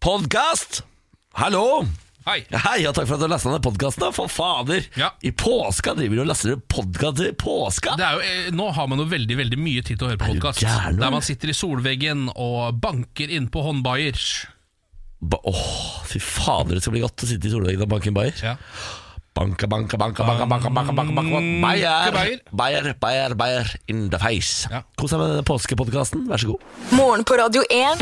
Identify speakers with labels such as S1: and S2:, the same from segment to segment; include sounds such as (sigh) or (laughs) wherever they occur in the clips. S1: Podkast! Hallo!
S2: Hei.
S1: Hei, og takk for at du lasta ned podkasten, for fader!
S2: Ja.
S1: I påska driver du og laster ned podkast i påska!
S2: Det er jo, eh, nå har man jo veldig veldig mye tid til å høre på
S1: Er du
S2: podkast.
S1: gæren,
S2: Der
S1: eller?
S2: man sitter i solveggen og banker innpå håndbaier.
S1: Ba- Åh, fy fader, det skal bli godt å sitte i solveggen og banke en bayer.
S2: Ja.
S1: Banka, banka, banka, banka, banka, banka, banka, banka,
S2: Banke
S1: Bayer,
S2: bayer.
S1: bayer, bayer, bayer in the face.
S2: Ja.
S1: Kos deg med denne påskepodkasten, vær så god.
S3: Morgen på Radio 1.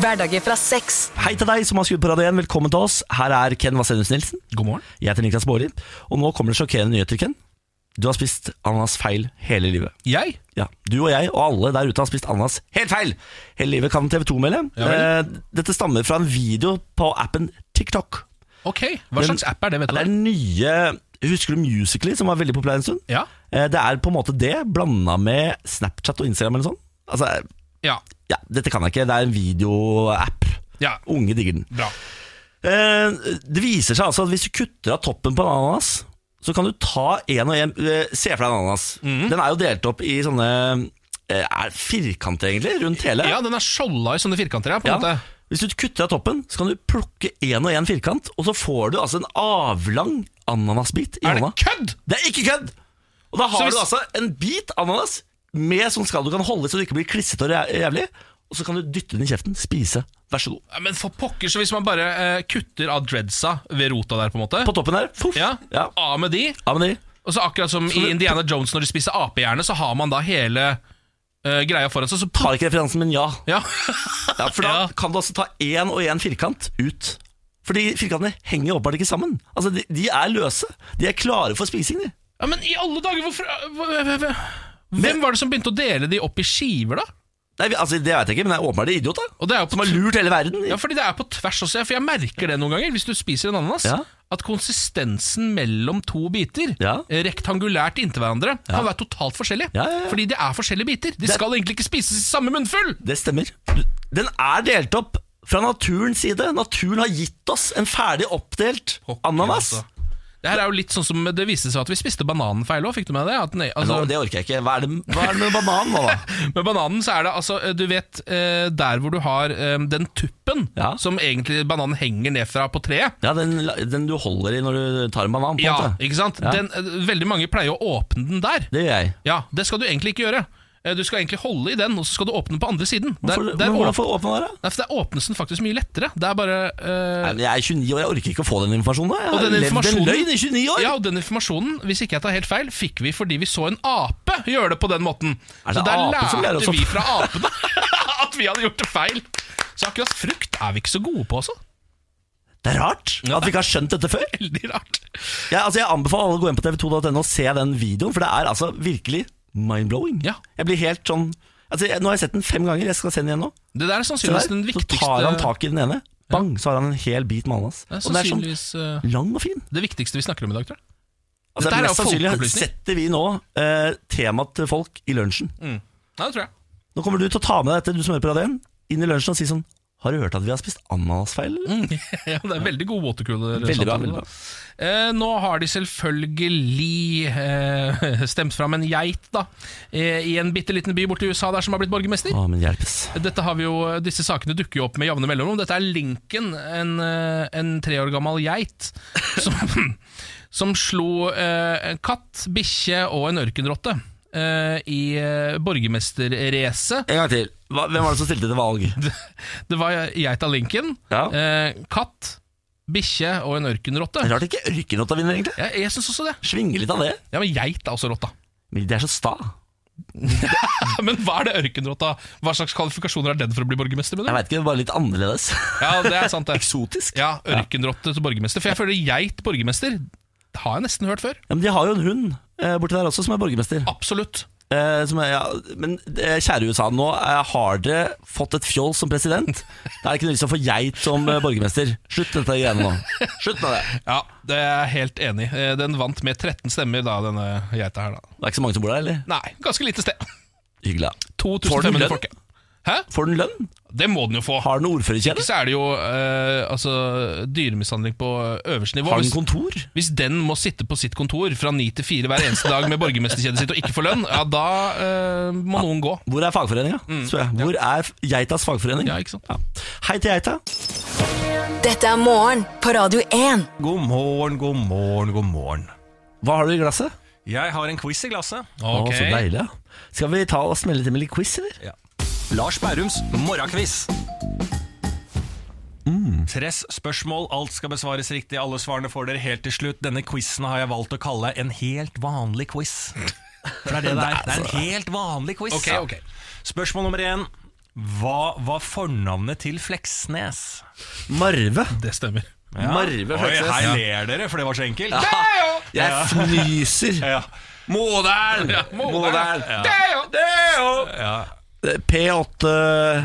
S3: Hverdager fra seks.
S1: Hei til deg som har skrudd på Radio 1, velkommen til oss. Her er Ken Vasenus Nilsen.
S2: God morgen.
S1: Jeg heter Niklas Baarli, og nå kommer det sjokkerende nyheter, Ken. Du har spist ananas feil hele livet.
S2: Jeg?
S1: Ja, Du og jeg og alle der ute har spist ananas helt feil hele livet, kan TV 2 melde.
S2: Ja vel.
S1: Eh, Dette stammer fra en video på appen TikTok.
S2: Ok, Hva
S1: Den-
S2: slags app er det? vet
S1: Det er
S2: du?
S1: den nye Husker du Musically, som var veldig populær en stund?
S2: Ja.
S1: Eh, Det er på en måte det, blanda med Snapchat og Instagram eller noe sånt. Altså,
S2: Ja.
S1: ja, dette kan jeg ikke. Det er en videoapp.
S2: ja.
S1: Unge digger den.
S2: Bra.
S1: Eh, Det viser seg altså at hvis du kutter av toppen på en ananas, så kan du ta en og en eh, Se for deg en ananas.
S2: Mhm.
S1: Den er jo delt opp i sånne eh, er firkanter, egentlig, rundt hele.
S2: Ja, den er skjolda i sånne firkanter. Ja, på en
S1: Ja.
S2: måte.
S1: Hvis du kutter av toppen, så kan du plukke en og en firkant, og så får du altså en avlang ananasbit i
S2: Er det
S1: hånda.
S2: kødd?!
S1: Det er ikke kødd! Og da
S2: Så
S1: har
S2: hvis-
S1: du altså en bit ananas med sånn skall du kan holde så du ikke blir klissete og jæ- jævlig, og så kan du dytte den i kjeften, spise, vær så god.
S2: Ja, Men for pokker, så hvis man bare eh, kutter av dreadsa ved rota der, på en måte
S1: På toppen der, poff.
S2: ja,
S1: Ja.
S2: Av med de.
S1: Ja, men det,
S2: Og så akkurat som i
S1: det-
S2: Indiana Jones når de spiser apehjerne, så har man da hele eh, greia foran seg. Så
S1: har ikke referansen, men ja.
S2: ja.
S1: ja for da
S2: Ja.
S1: kan du altså ta én og én firkant ut. Fordi firkantene henger jo åpenbart ikke sammen. Altså, de, de er løse. De er klare for spising, de.
S2: ja, men i alle dager, hvorfor eh, hva- hva- hva- Hvem var det som begynte å dele de opp i skiver, da?
S1: Nei, vi- altså, det vet jeg ikke, men det er åpenbart det er idiot, da.
S2: Og det er jo på
S1: Som har lurt hele verden.
S2: Ja, fordi det er på tvers også, ja, for jeg merker det noen ganger hvis du spiser en ananas.
S1: Ja.
S2: At konsistensen mellom to biter,
S1: Ja.
S2: eh, rektangulært inntil hverandre, kan være totalt forskjellig.
S1: Ja, ja, ja.
S2: Fordi de er forskjellige biter. De skal egentlig ikke spises i samme munnfull!
S1: Det stemmer. Du- Den er delt opp fra naturens side. Naturen har gitt oss en ferdig oppdelt ananas.
S2: Altså. Det her er jo litt sånn som det viste seg at vi spiste bananen feil òg, fikk du med det? At den, altså,
S1: Nå, det orker jeg ikke. Hva er det, hva er det med bananen nå,
S2: (laughs)
S1: da?
S2: Med bananen så er det altså, eh, du vet, eh, der hvor du har eh, den tuppen
S1: Ja.
S2: som egentlig bananen henger ned fra på treet.
S1: Ja, den, la- den du holder i når du tar en banan, på en
S2: Ja,
S1: måte.
S2: ikke sant?
S1: Ja.
S2: Den, eh, veldig mange pleier å åpne den der.
S1: Det gjør jeg.
S2: Ja, det skal du egentlig ikke gjøre. Eh, Du skal egentlig holde i den, og så skal du åpne på andre siden. Der,
S1: Hvorfor,
S2: der,
S1: men hvordan
S2: åp-
S1: får åpne der, da?
S2: Nei, for der åpnes den faktisk mye lettere. Det er bare eh,
S1: Nei, men Jeg er 29 år, jeg orker ikke å få den informasjonen. da. Jeg
S2: Og
S1: har
S2: den
S1: levd en
S2: informasjonen-
S1: løgn i 29 år!
S2: Ja, og den informasjonen, hvis ikke jeg tar helt feil, fikk vi fordi vi så en ape gjøre det på den måten.
S1: Er det
S2: så der
S1: ape som lærer oss
S2: lærte
S1: opp?
S2: vi fra apene (laughs) at vi hadde gjort det feil. Så akkurat frukt er vi ikke så gode på også.
S1: Det er rart at vi ikke har skjønt dette før.
S2: Veldig rart.
S1: Jeg, altså, jeg anbefaler alle å gå inn på tv2.no og se den videoen, for det er altså virkelig mind-blowing.
S2: Ja.
S1: Jeg blir helt sånn altså, jeg, Nå har jeg sett den fem ganger, jeg skal se den igjen nå.
S2: Det der er
S1: Se der,
S2: sannsynligvis den
S1: så
S2: viktigste
S1: tar han tak i den ene, bang, så har han en hel bit med ananas.
S2: Det er
S1: Og den er sånn
S2: sannsynligvis eh,
S1: lang og fin.
S2: det viktigste vi snakker om i dag, tror jeg.
S1: Altså,
S2: Dette her er
S1: mest
S2: jo
S1: sannsynlig
S2: folkeopplysning.
S1: setter vi nå eh, temaet til folk i lunsjen.
S2: Mm. Nei, det tror jeg.
S1: Nå kommer du til å ta med deg dette, du som hører på radioen, inn i lunsjen og si sånn Har du hørt at vi har spist ananasfeil?
S2: Mm.
S1: eller?»
S2: (laughs) ja, det er veldig god watercooler.
S1: Veldig bra,
S2: samtale,
S1: veldig bra.
S2: da. Eh, nå har de selvfølgelig eh, (laughs) stemt fram en geit da, eh, i en bitte liten by borti USA der som har blitt borgermester.
S1: Å, men hjelpes.
S2: Dette har vi jo, disse sakene dukker jo opp med javne mellomrom. Dette er Lincoln, en, eh, en tre år gammel geit, (laughs) som, som slo eh, en katt, bikkje og en ørkenrotte eh, i eh, borgermesterracet.
S1: En gang til. Hva, hvem var det som stilte til valg?
S2: (laughs) Det var geita Lincoln,
S1: Ja.
S2: eh, katt, bikkje og en ørkenrotte.
S1: Rart ikke ørkenrotta vinner, egentlig.
S2: Jeg, jeg syns også det.
S1: Svinge litt av det.
S2: Ja, men geit er også rotta. (laughs)
S1: Men de er så sta.
S2: Men hva er det ørkenrotta? Hva slags kvalifikasjoner er den for å bli borgermester? Med
S1: Jeg
S2: det?
S1: veit ikke, bare litt annerledes. (laughs)
S2: Ja, det er sant det
S1: Eksotisk.
S2: Ja, ørkenrotte til borgermester. For jeg føler geit borgermester det har jeg nesten hørt før.
S1: Ja, men de har jo en hund eh, borti der også, som er
S2: Ah.
S1: borgermester.
S2: Absolutt.
S1: Eh, som er, ja, men eh, kjære USA, nå eh, har dere fått et fjoll som president.
S2: (laughs)
S1: Det er ikke noe vits i å få geit som eh, borgermester. Slutt dette greiene nå. Slutt med det.
S2: Ja, det er jeg helt enig i. Eh, Den vant med 13 stemmer, da, denne geita her. da
S1: Det er ikke så mange som bor der, eller?
S2: Nei, ganske lite sted.
S1: Hyggelig. da. Får den
S2: 2500
S1: lønn?
S2: folk. ja. Hæ?
S1: Får den lønn?
S2: Det må den jo få.
S1: Har den ordførerkjede?
S2: Så er det jo eh, altså, dyremishandling på eh, øverste nivå.
S1: Har den
S2: Hvis,
S1: kontor?
S2: hvis den må sitte på sitt kontor fra ni til fire hver eneste dag med borgermesterkjedet sitt og ikke få lønn, ja, da eh, må noen gå. Mm.
S1: Hvor er fagforeninga? spør jeg. Hvor er f- geitas fagforening?
S2: Ja, ikke sant?
S1: Hei til geita.
S3: Dette er morgen på Radio 1.
S4: God morgen, god morgen, god morgen.
S1: Hva har du i glasset?
S4: Jeg har en quiz i glasset.
S1: Å, så deilig. ja. Skal vi ta og smelle til med litt quiz, eller?
S4: Lars Bærums morgenquiz. Tres spørsmål, alt skal besvares riktig. Alle svarene får dere helt til slutt. Denne quizen har jeg valgt å kalle en helt vanlig quiz. For det er det det er. Det er en helt vanlig quiz.
S2: Ok, ok.
S4: Spørsmål nummer én. Hva var fornavnet til Fleksnes?
S1: Marve.
S2: Det stemmer.
S1: Marve
S4: Oi,
S1: Fleksnes.
S4: her ler dere, for det var så enkelt.
S1: Jeg fnyser.
S4: Ja.
S1: Modern!
S2: Ja, modern.
S1: Modern.
S2: Deo, deo.
S1: P8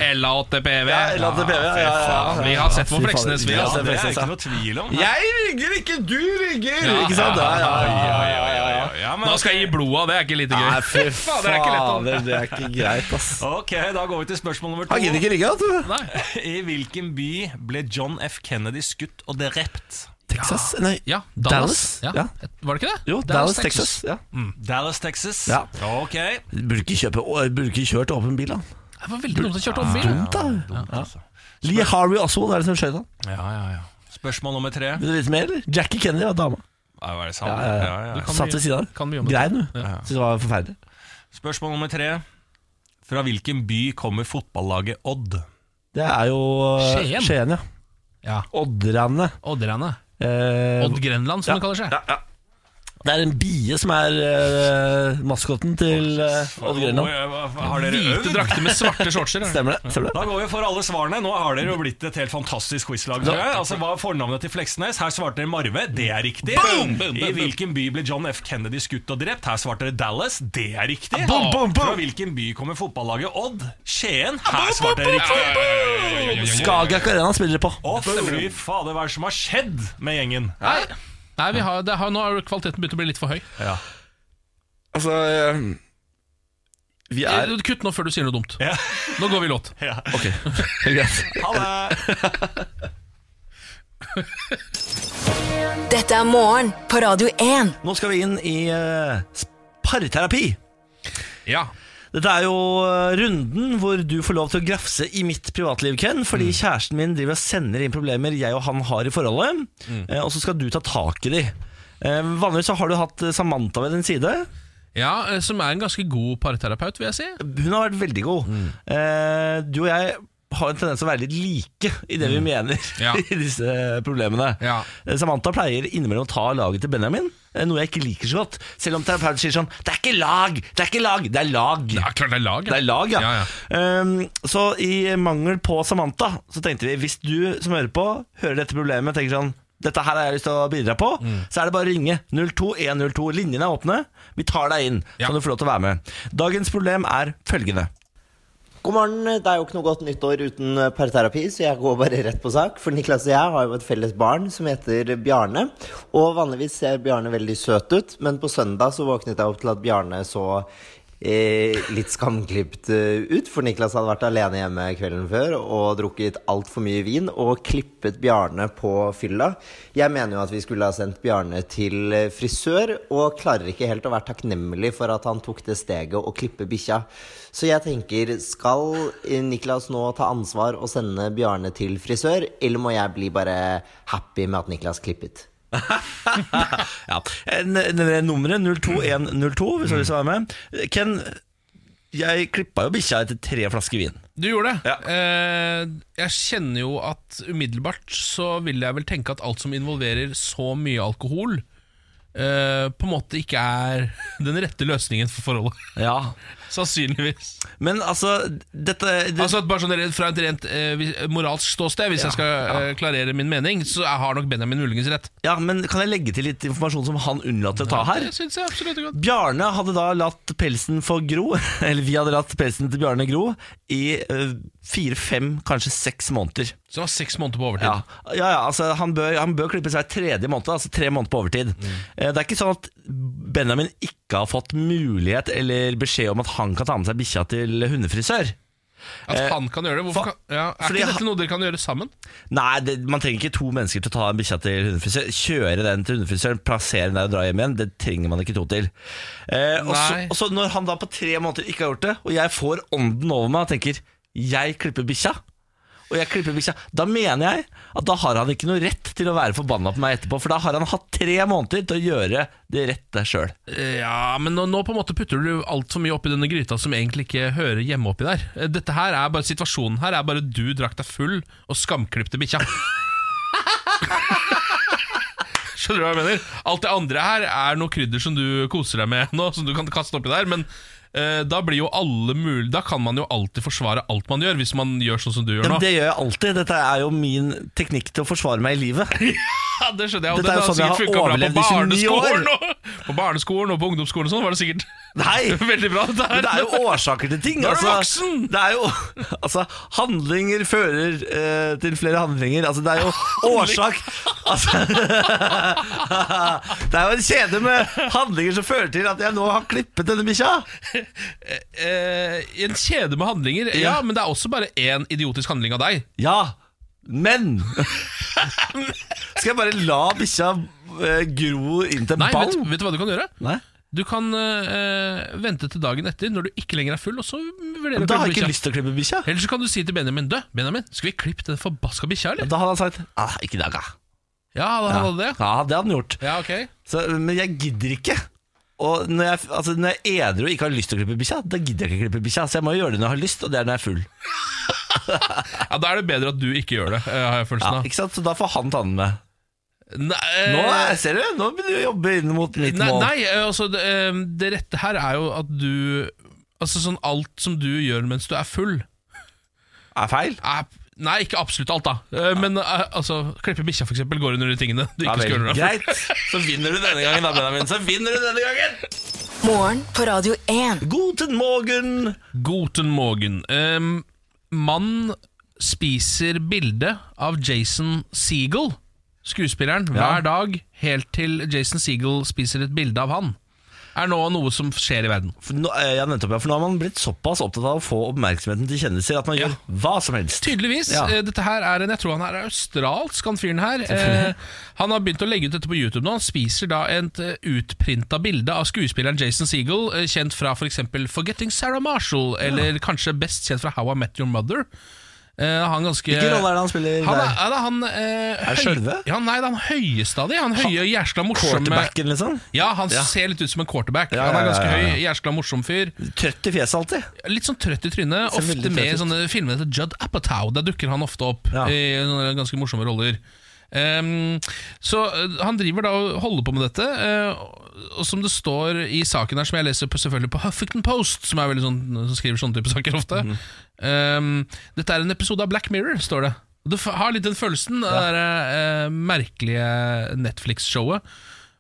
S2: Ella 8 PV.
S1: Ja, Ella 8 PV, ja, ja, ja, ja.
S2: Vi har sett på
S1: Fy faen,
S2: Fleksnes, vi.
S1: ja,
S4: Ja,
S2: Altså.
S4: det er det ikke noe tvil om.
S1: Jeg rygger ikke, du rygger!
S2: Ja,
S1: ikke sant? Ja, ja, ja, ja, ja, ja.
S4: Ja, men
S2: Nå skal jeg gi blod av, det er ikke lite
S1: Nei,
S2: gøy.
S1: fy
S2: faen, det er ikke lett, da.
S1: fader, det er ikke greit, ass.
S4: Ok, da går vi til spørsmål nummer to.
S1: Han gidder ikke rygge, vet du.
S4: (laughs) I hvilken by ble John F. Kennedy skutt og drept?
S1: Texas? Nei,
S2: Ja, Dallas.
S1: Dallas,
S2: Ja.
S1: ja.
S2: Var det ikke det?
S1: jo, Dallas, Texas. Ja.
S4: Mm. Dallas, Texas.
S1: Ja.
S4: Ok.
S1: Burde ikke, kjøpe, å, burde ikke kjørt åpen bil, han.
S2: Det var veldig dumt å kjøre om bilen.
S1: Dumt, da. Ja. Lee Harvey Oswald er det som skjøt han.
S4: Ja, ja, ja. Spørsmål nummer tre.
S1: Vil du vite mer, eller? Jackie Kennedy var dama.
S4: Ja, var det sant?
S1: Ja, ja, ja.
S2: Du kan
S1: Satt
S2: mye-
S1: ved siden av.
S2: Kan mye om det.
S1: Grein, du. Syns det var forferdelig.
S4: Spørsmål nummer tre. Fra hvilken by kommer fotballaget Odd?
S1: Det er jo eh,
S2: Skien.
S1: Skien, ja.
S2: Ja.
S1: Odderane.
S2: Odderne.
S1: Eh,
S2: Odd Grenland, som det kaller seg.
S1: det er en bie som er eh, maskotten til eh, Odd Grønland.
S4: Oi, hva- hva- Har dere
S2: Hvite
S4: øvd?
S2: drakter med svarte shortser. da.
S1: Stemmer det? Stemmer det?
S4: Da går vi for alle svarene. Nå har dere jo blitt et helt fantastisk quizlag. tror jeg. Altså, Hva er fornavnet til Fleksnes? Her svarte dere Marve. Det er riktig.
S2: Boom! Boom, boom,
S4: I
S2: boom.
S4: hvilken by ble John F. Kennedy skutt og drept? Her svarte dere Dallas. Det er riktig.
S2: Boom, boom, boom.
S4: Fra hvilken by kommer fotballaget Odd? Skien. Her svarte dere riktig.
S1: Skagerrak Arena spiller de på.
S4: Å, fy fader, hva er det som har skjedd med gjengen?
S2: Nei, Nei vi har, det har, nå har kvaliteten begynt å bli litt for høy.
S4: Ja.
S1: Altså Vi er
S2: Eh, Kutt nå før du sier noe dumt.
S4: Ja.
S2: Nå går vi i låt.
S1: Ok, greit.
S4: Ha det.
S3: Dette er morgen på Radio 1.
S1: Nå skal vi inn i eh, parterapi.
S2: Ja.
S1: Dette er jo eh, runden hvor du får lov til å grafse i mitt privatliv, Ken.
S2: Mm.
S1: Fordi kjæresten min driver og sender inn problemer jeg og han har i forholdet.
S2: Mm.
S1: eh, Og så skal du ta tak i de. Eh, Vanligvis så har du hatt eh, Samantha ved din side.
S2: ja, eh, som er en ganske god parterapeut, vil jeg si.
S1: Hun har vært veldig god.
S2: Mm.
S1: Eh, Du og jeg har en tendens til å være litt like i det vi mener
S2: Mm.
S1: (laughs)
S2: Ja.
S1: i disse problemene.
S2: Ja.
S1: Eh, Samantha pleier innimellom å ta laget til Benjamin, eh, noe jeg ikke liker så godt. Selv om terapeuten sier sånn Det er ikke lag! Det er ikke lag! Det er lag!
S2: Det er klart det er lag. ja.
S1: Det er lag, ja.
S2: Ja, ja.
S1: Ehm, så i mangel på Samantha, så tenkte vi hvis du som hører på, hører dette problemet og tenker sånn dette her har jeg lyst til å bidra på. Så er det bare å ringe 02102. Linjene er åpne. Vi tar deg inn,
S2: Ja.
S1: så du får lov til å være med. Dagens problem er følgende.
S5: God morgen. Det er jo ikke noe godt nyttår uten eh, parterapi, så jeg går bare rett på sak. For Niklas og jeg har jo et felles barn som heter Bjarne. Og vanligvis ser Bjarne veldig søt ut, men på søndag så våknet jeg opp til at Bjarne så eh, litt skamklipt eh, ut. For Niklas hadde vært alene hjemme kvelden før og drukket altfor mye vin og klippet Bjarne på fylla. Jeg mener jo at vi skulle ha sendt Bjarne til eh, frisør, og klarer ikke helt å være takknemlig for at han tok det steget å klippe bikkja. Så jeg tenker, skal eh, Niklas nå ta ansvar og sende Bjarne til frisør, eller må jeg bli bare happy med at Niklas klippet?
S1: ja. N- n- Nummeret 02102, hvis du har lyst til å være med. Ken, jeg klippa jo bikkja etter tre flasker vin.
S2: Du gjorde det.
S1: Ja.
S2: Eh, jeg kjenner jo at umiddelbart så vil jeg vel tenke at alt som involverer så mye alkohol, eh, på en måte ikke er (laughs) den rette løsningen for forholdet. (laughs)
S1: Ja.
S2: Sannsynligvis.
S1: Men altså, dette det,
S2: Altså at bare sånn rent- Fra et rent eh, vi- moralsk ståsted, hvis jeg skal eh, klarere min mening, så jeg har nok Benjamin muligens rett.
S1: Ja, men Kan jeg legge til litt informasjon som han unnlater å ta her?
S2: Det synes jeg absolutt er godt.
S1: Bjarne hadde da latt pelsen få gro, (laughs) eller vi hadde latt pelsen til Bjarne gro, i eh, fire, fem, kanskje seks måneder.
S2: Så det var seks måneder på overtid.
S1: Ja, ja, ja altså han bør, han bør klippe seg tredje måned, altså tre måneder på overtid. Eh, Det er ikke sånn at Benjamin ikke har fått mulighet eller beskjed om at han kan ta med seg bikkja til hundefrisør.
S2: At han kan gjøre det. Hvorfor
S1: eh, for-
S2: kan, ja, er
S1: fordi
S2: ikke
S1: han-
S2: dette noe dere kan gjøre sammen?
S1: Nei, det, man trenger ikke to mennesker til å ta en bikkja til hundefrisør. Kjøre den til hundefrisøren, plassere den der og dra hjem igjen. Det trenger man ikke to til. Eh, og, så,
S2: Nei.
S1: og så når han da på tre måneder ikke har gjort det, og jeg får ånden over meg og tenker 'jeg klipper bikkja', og jeg klipper bikkja, da mener jeg at da har han ikke noe rett til å være forbanna på meg etterpå, for da har han hatt tre måneder til å gjøre det rette sjøl.
S2: Ja, men nå, nå på en måte putter du altfor mye oppi denne gryta som egentlig ikke hører hjemme oppi der. Eh, Dette her er bare Situasjonen her er bare du drakk deg full og skamklipte bikkja. (laughs) Skjønner du hva jeg mener? Alt det andre her er noe krydder som du koser deg med nå, som du kan kaste oppi der, men eh, da blir jo alle mulig Da kan man jo alltid forsvare alt man gjør, hvis man gjør sånn som du gjør
S1: Men
S2: nå.
S1: det gjør jeg alltid. Dette er jo min teknikk til å forsvare meg i livet.
S2: (laughs) (laughs) Ja, det skjønner jeg. Og
S1: Dette er jo
S2: har
S1: sånn jeg har
S2: sikkert funket bra
S1: overlevd i 29 år.
S2: på barneskolen og (laughs) på barneskolen og på ungdomsskolen og sånn, var det sikkert (laughs)
S1: Nei!
S2: veldig bra. dette her.
S1: Men det er jo årsaker til ting.
S2: Da er du
S1: altså.
S2: voksen!
S1: Det er jo, (laughs) altså, handlinger fører eh, til flere handlinger. Altså, det er
S2: (laughs)
S1: jo årsak altså, (laughs) Det er jo en kjede med handlinger som fører til at jeg nå har klippet denne bikkja.
S2: eh, en kjede med handlinger. Ja, men det er også bare én idiotisk handling av deg.
S1: Ja,
S2: (laughs)
S1: men Skal jeg bare la bikkja eh, gro inn til en
S2: Nei, vet,
S1: ball?
S2: vet du hva du kan gjøre?
S1: Nei,
S2: Du kan eh, vente til dagen etter, når du ikke lenger er full, og så vurderer du
S1: men
S2: å
S1: Da har jeg ikke
S2: klippe bikkja.
S1: lyst til å klippe bikkja.
S2: Eller så kan du si til Benjamin Dø, Benjamin, skal vi klippe den forbaska bikkja, eller?
S1: Da hadde han sagt ah, 'ikke i dag', da.
S2: Ja, da
S1: Ja.
S2: hadde det.
S1: ja, det hadde han gjort.
S2: Ja, ok.
S1: Så, men jeg gidder ikke. Og når jeg, altså, når jeg er edru og ikke har lyst til å klippe bikkja, da gidder jeg ikke klippe bikkja. Så jeg må jo gjøre det når jeg har lyst, og det er når jeg er full.
S2: Ja, Da er det bedre at du ikke gjør det, eh, har
S1: Sånn, Ja,
S2: jeg følelsen av.
S1: ikke sant? Så da får han ta den med.
S2: Nei, eh,
S1: Nå er, ser du, nå begynner du å jobbe inn mot mitt
S2: Nei,
S1: mål.
S2: nei eh, altså det, eh, det rette her er jo at du Altså sånn alt som du gjør mens du er full
S1: Er feil?
S2: er, Nei, ikke absolutt alt da Eh, Men eh, altså, klippe bikkja for eksempel Går under de tingene du
S1: Ja
S2: ikke skal
S1: vel,
S2: gjøre når du er full.
S1: greit. (laughs) Så vinner du denne gangen, da, Benjamin. Så vinner du denne gangen!
S3: Morgen på Radio 1.
S1: Guten morgen!
S2: Guten morgen um, Mann spiser bilde av Jason Segel Skuespilleren hver dag Helt til Jason Segel spiser et bilde av han Er nå noe som skjer i verden
S1: For nå, eh, ja, nettopp, ja, for nå har man blitt såpass opptatt av å få oppmerksomheten til kjendiser at man gjør hva som helst.
S2: Tydeligvis.
S1: Ja.
S2: Eh, Dette her er en, Jeg tror han er australsk, han fyren her. Eh, han har begynt å legge ut dette på YouTube nå. Han spiser da et eh, utprinta bilde av skuespilleren Jason Segel, eh, kjent fra f.eks. For 'Forgetting Sarah Marshall', eller kanskje best kjent fra 'How I Met Your Mother'. Eh, han ganske
S1: Hvilken rolle er det han spiller
S2: han er,
S1: der?
S2: er det han, eh,
S1: Er det
S2: høy-
S1: skjølve?
S2: Ja, nei, det er han høyeste av de. Han høye, jæskla morsomme
S1: Quarterbacken, liksom?
S2: Ja, han ser litt ut som en quarterback.
S1: Ja,
S2: Han er
S1: ja,
S2: ganske
S1: ja, ja,
S2: høy, jæskla morsom fyr.
S1: Trøtt i fjeset alltid.
S2: Litt sånn trøtt i trynet.
S1: Ser
S2: Ofte
S1: veldig
S2: med i
S1: trøtt ut.
S2: sånne filmer til Judd Apatow. Der dukker han ofte opp
S1: Ja.
S2: i sånne ganske morsomme roller. Ehm, så eh, han driver da og holder på med dette. eh, og som det står i saken her, som jeg leser på, selvfølgelig på Huffington Post, som, er veldig sånn, som skriver sånne type saker ofte
S1: Mhm.
S2: ehm, Dette er en episode av Black Mirror, står det. Og Du f- har litt den følelsen, det der, eh, merkelige Netflix-showet.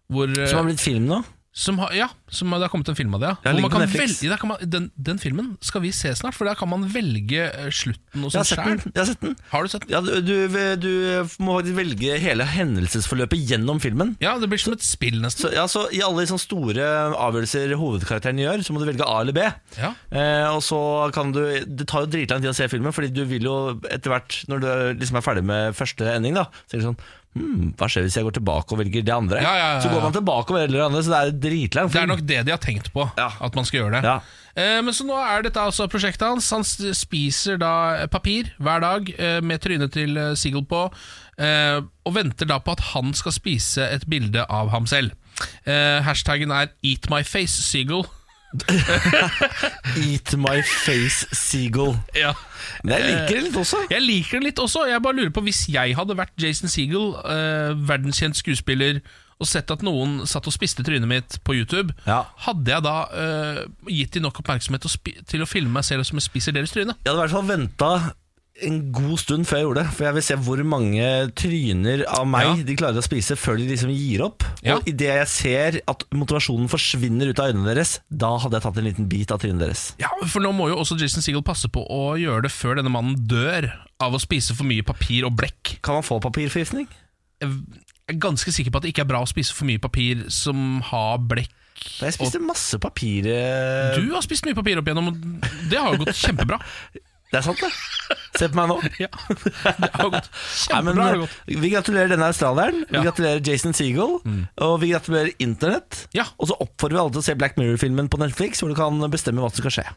S2: Hvor, eh,
S1: Som har blitt film nå.
S2: som har, ja, som har, det har kommet en film av det, ja.
S1: Ja,
S2: Hvor
S1: ligger
S2: man
S1: på
S2: kan
S1: Netflix.
S2: velge, der kan man, den, den filmen skal vi se snart, for der kan man velge eh, slutten og
S1: Jeg
S2: sånn
S1: har sett den.
S2: sjæl.
S1: Jeg har sett den.
S2: Har du sett den?
S1: Ja, du, du, du må faktisk velge hele hendelsesforløpet gjennom filmen.
S2: Ja, det blir som et spill, nesten.
S1: Så, ja, så I alle sånne store avgjørelser hovedkarakteren gjør, så må du velge A eller B.
S2: Ja.
S1: Eh, og så kan du, Det tar jo dritlang tid å se filmen, Fordi du vil jo etter hvert, når du liksom er ferdig med første ending, da, så er det sånn hmm, Hva skjer hvis jeg går tilbake og velger det andre?
S2: Ja, ja, ja,
S1: Så
S2: ja.
S1: går man tilbake og velger det andre, så det er dritlang
S2: Det er nok det de har tenkt på,
S1: Ja.
S2: at man skal gjøre det.
S1: Ja.
S2: Eh, men så nå er dette altså prosjektet hans. Han s- spiser da eh, papir hver dag eh, med trynet til eh, Sigel på, eh, og venter da på at han skal spise et bilde av ham selv. Eh, hashtaggen er 'Eat my face, Sigel'.
S1: Eat my face, seagull.
S2: (laughs) Ja.
S1: Men
S2: Eh,
S1: jeg liker det litt også.
S2: Jeg liker det litt også. Jeg bare lurer på Hvis jeg hadde vært Jason Segel, eh, verdenskjent skuespiller, og sett at noen satt og spiste trynet mitt på YouTube,
S1: Ja.
S2: hadde jeg da eh, gitt de nok oppmerksomhet til å, spi til å filme meg selv som jeg spiser deres tryne?
S1: Jeg hadde i hvert fall venta en god stund før jeg gjorde det. For jeg vil se hvor mange tryner av meg
S2: Ja.
S1: de klarer å spise før de liksom gir opp.
S2: Ja.
S1: Og idet jeg ser at motivasjonen forsvinner ut av øynene deres, da hadde jeg tatt en liten bit av trynet deres.
S2: Ja, For nå må jo også Jason Segel passe på å gjøre det før denne mannen dør av å spise for mye papir og blekk.
S1: Kan man få papirforgiftning?
S2: Jeg er ganske sikker på at det ikke er bra å spise for mye papir som har blekk.
S1: Jeg spiste masse papir eh,
S2: Du har spist mye papir opp igjennom, og det har jo gått kjempebra.
S1: Det er sant, det. Se på meg nå.
S2: (laughs) Ja, det har gått
S1: Nei, men, eh,
S2: kjempebra. har det gått.
S1: vi gratulerer denne australieren,
S2: Ja. Mm.
S1: vi gratulerer Jason Seagull, og vi gratulerer Internett.
S2: Ja.
S1: Og så oppfordrer vi alle til å se Black Mirror-filmen på Netflix, hvor du kan bestemme hva som skal skje.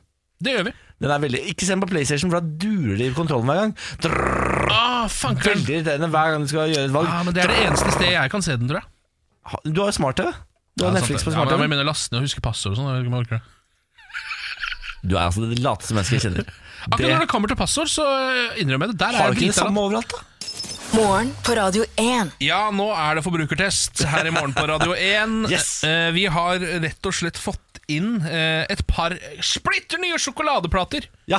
S2: Det gjør vi.
S1: Den er veldig, ikke send på PlayStation, for da durer det i kontrollen hver gang. Drrrr,
S2: Ah, fankeren.
S1: veldig irriterende hver gang du skal gjøre et valg.
S2: Ja, men Det er det eneste stedet jeg kan se den, tror jeg.
S1: Ha- Du har jo smart-TV. Du har
S2: Ja,
S1: Netflix på
S2: sant det. Ja, men jeg
S1: smart-TV.
S2: begynner å laste ned og huske passord og sånn. jeg vet ikke om jeg orker det.
S1: Du er altså det lateste mennesket jeg kjenner.
S2: Akkurat
S1: Det
S2: når det kommer til passord, så eh, innrømmer jeg det. Der er
S1: har du ikke det
S2: jeg drita
S1: samme overalt, da?
S3: Morgen på Radio 1.
S2: Ja, nå er det forbrukertest her i morgen på
S1: (laughs)
S2: Radio 1.
S1: Yes.
S2: Eh, vi har rett og slett fått inn eh, et par splitter nye sjokoladeplater.
S1: Ja,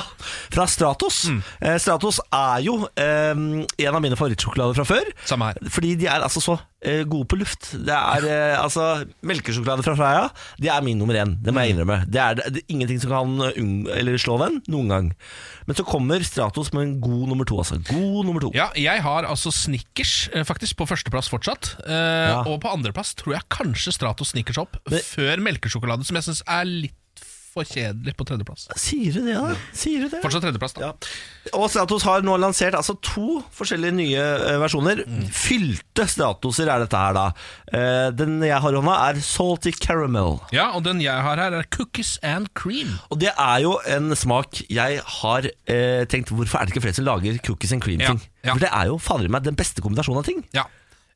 S1: fra Stratos.
S2: Mm.
S1: Eh, Stratos er jo eh, en av mine favorittsjokolader fra før.
S2: Samme her.
S1: Fordi de er altså så eh, gode på luft. Det er eh, altså Melkesjokolade fra Freia Det er min nummer én, det må
S2: Mm.
S1: jeg innrømme. Det er, det, det er ingenting som kan unng eller slå den noen gang. Men så kommer Stratos med en god nummer to, altså. God nummer to.
S2: Ja, jeg har altså Snickers eh, faktisk på førsteplass fortsatt. Eh, Og på andreplass tror jeg kanskje Stratos Snickers opp før melkesjokolade, som jeg syns er litt for kjedelig på tredjeplass.
S1: Sier du det, da? Sier du det?
S2: Fortsatt tredjeplass, da.
S1: Ja. Og Stratos har nå lansert altså to forskjellige nye eh, versjoner.
S2: Mm.
S1: Fylte Stratoser er dette her, da. Eh, den jeg har i hånda, er Salty Caramel.
S2: Ja, og den jeg har her, er Cookies and Cream.
S1: Og det er jo en smak jeg har eh, tenkt Hvorfor er det ikke flere som lager cookies and cream-ting?
S2: Ja, ja.
S1: For det er jo fader i meg den beste kombinasjonen av ting.
S2: Ja.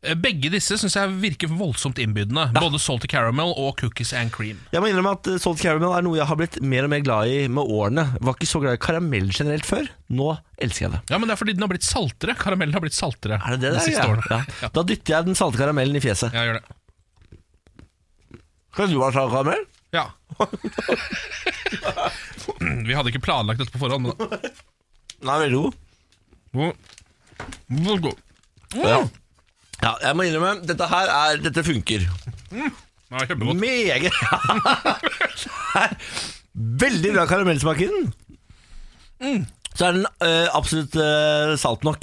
S2: Eh, Begge disse syns jeg virker voldsomt innbydende. Både Salty Caramel og Cookies and Cream.
S1: Jeg må innrømme at eh, Salt Caramel er noe jeg har blitt mer og mer glad i med årene. Var ikke så glad i karamell generelt før. Nå elsker jeg det.
S2: Ja, men det er fordi den har blitt saltere. Karamellen har blitt saltere.
S1: Er det det
S2: de
S1: der,
S2: siste
S1: ja?
S2: årene.
S1: Ja. Da dytter jeg den salte karamellen i fjeset.
S2: Ja, gjør det.
S1: Skal du ha salt karamell?
S2: Ja. (laughs) Vi hadde ikke planlagt dette på forhånd, men da.
S1: Nei, veldig god.
S2: Hvor- hvor god.
S1: Ja.
S2: Mm.
S1: ja, jeg må innrømme, dette her er, dette funker
S2: Ja, kjempegodt.
S1: Meget (laughs) Det er Veldig bra karamellsmak i den
S2: Mm.
S1: Så er den eh, absolutt eh, salt nok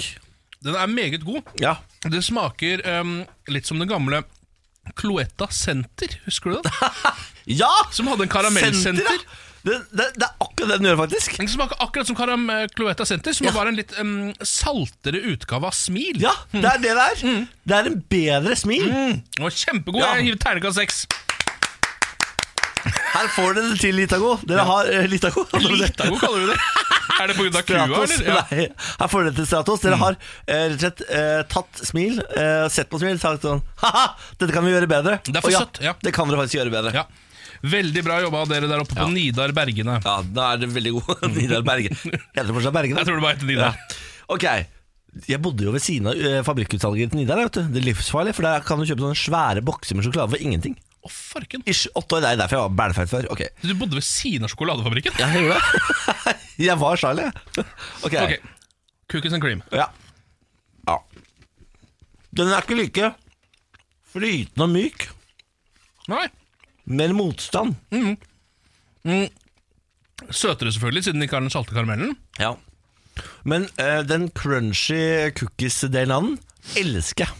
S2: Den er meget god.
S1: Ja
S2: Det smaker ehm, litt som den gamle Cloetta Senter,
S1: (laughs)
S2: husker du den?
S1: Ja!
S2: Som hadde en karamellsenter.
S1: Senter, ja. det, det, det er akkurat det den gjør faktisk
S2: Den smaker akkurat som karam eh, Cloetta Senter, som
S1: Ja.
S2: var en litt ehm, saltere utgave av Smil.
S1: Ja, det er det det er
S2: Mm.
S1: Det er en bedre smil
S2: Den var kjempegod.
S1: Ja.
S2: Jeg gir terningkast seks.
S1: Her får dere det til Litago Dere har eh, Litago
S2: (laughs) Litago kaller
S1: (laughs)
S2: vi det. Er det pga. kua,
S1: Stratos,
S2: eller? Ja. Mm.
S1: nei, her får dere til Stratos. Dere har eh, rett og slett eh, tatt smil, eh, sett på smil, sagt sånn (laughs) Ha-ha, dette kan vi gjøre bedre.
S2: Det er for
S1: Og
S2: søtt, ja.
S1: Det kan dere faktisk gjøre bedre.
S2: Ja. Veldig bra jobba av dere der oppe på Nidar Bergene.
S1: Ja, da er det veldig god (laughs) Nidar Berge. Heter det fortsatt Berge? da?
S2: Jeg tror det bare heter Nidar.
S1: Ok. Jeg bodde jo ved siden av eh, fabrikkutsalget til Nidar. Vet du. Det er livsfarlig, for der kan du kjøpe sånne svære bokser med sjokolade for ingenting.
S2: Å, farken.
S1: Ish, åtte år, Det er derfor jeg var bælfeit før. Ok. (laughs)
S2: Du bodde ved siden av sjokoladefabrikken?
S1: Jeg gjorde det. jeg var Charlie. (laughs) jeg. Ok.
S2: (laughs) Ok. Cookies and cream.
S1: Ja. ja. Den er ikke like flytende og myk.
S2: Nei.
S1: Mer motstand.
S2: Søtere, selvfølgelig, siden de ikke har den salte karamellen.
S1: Ja. Men eh, den crunchy cookies-delen av den elsker jeg.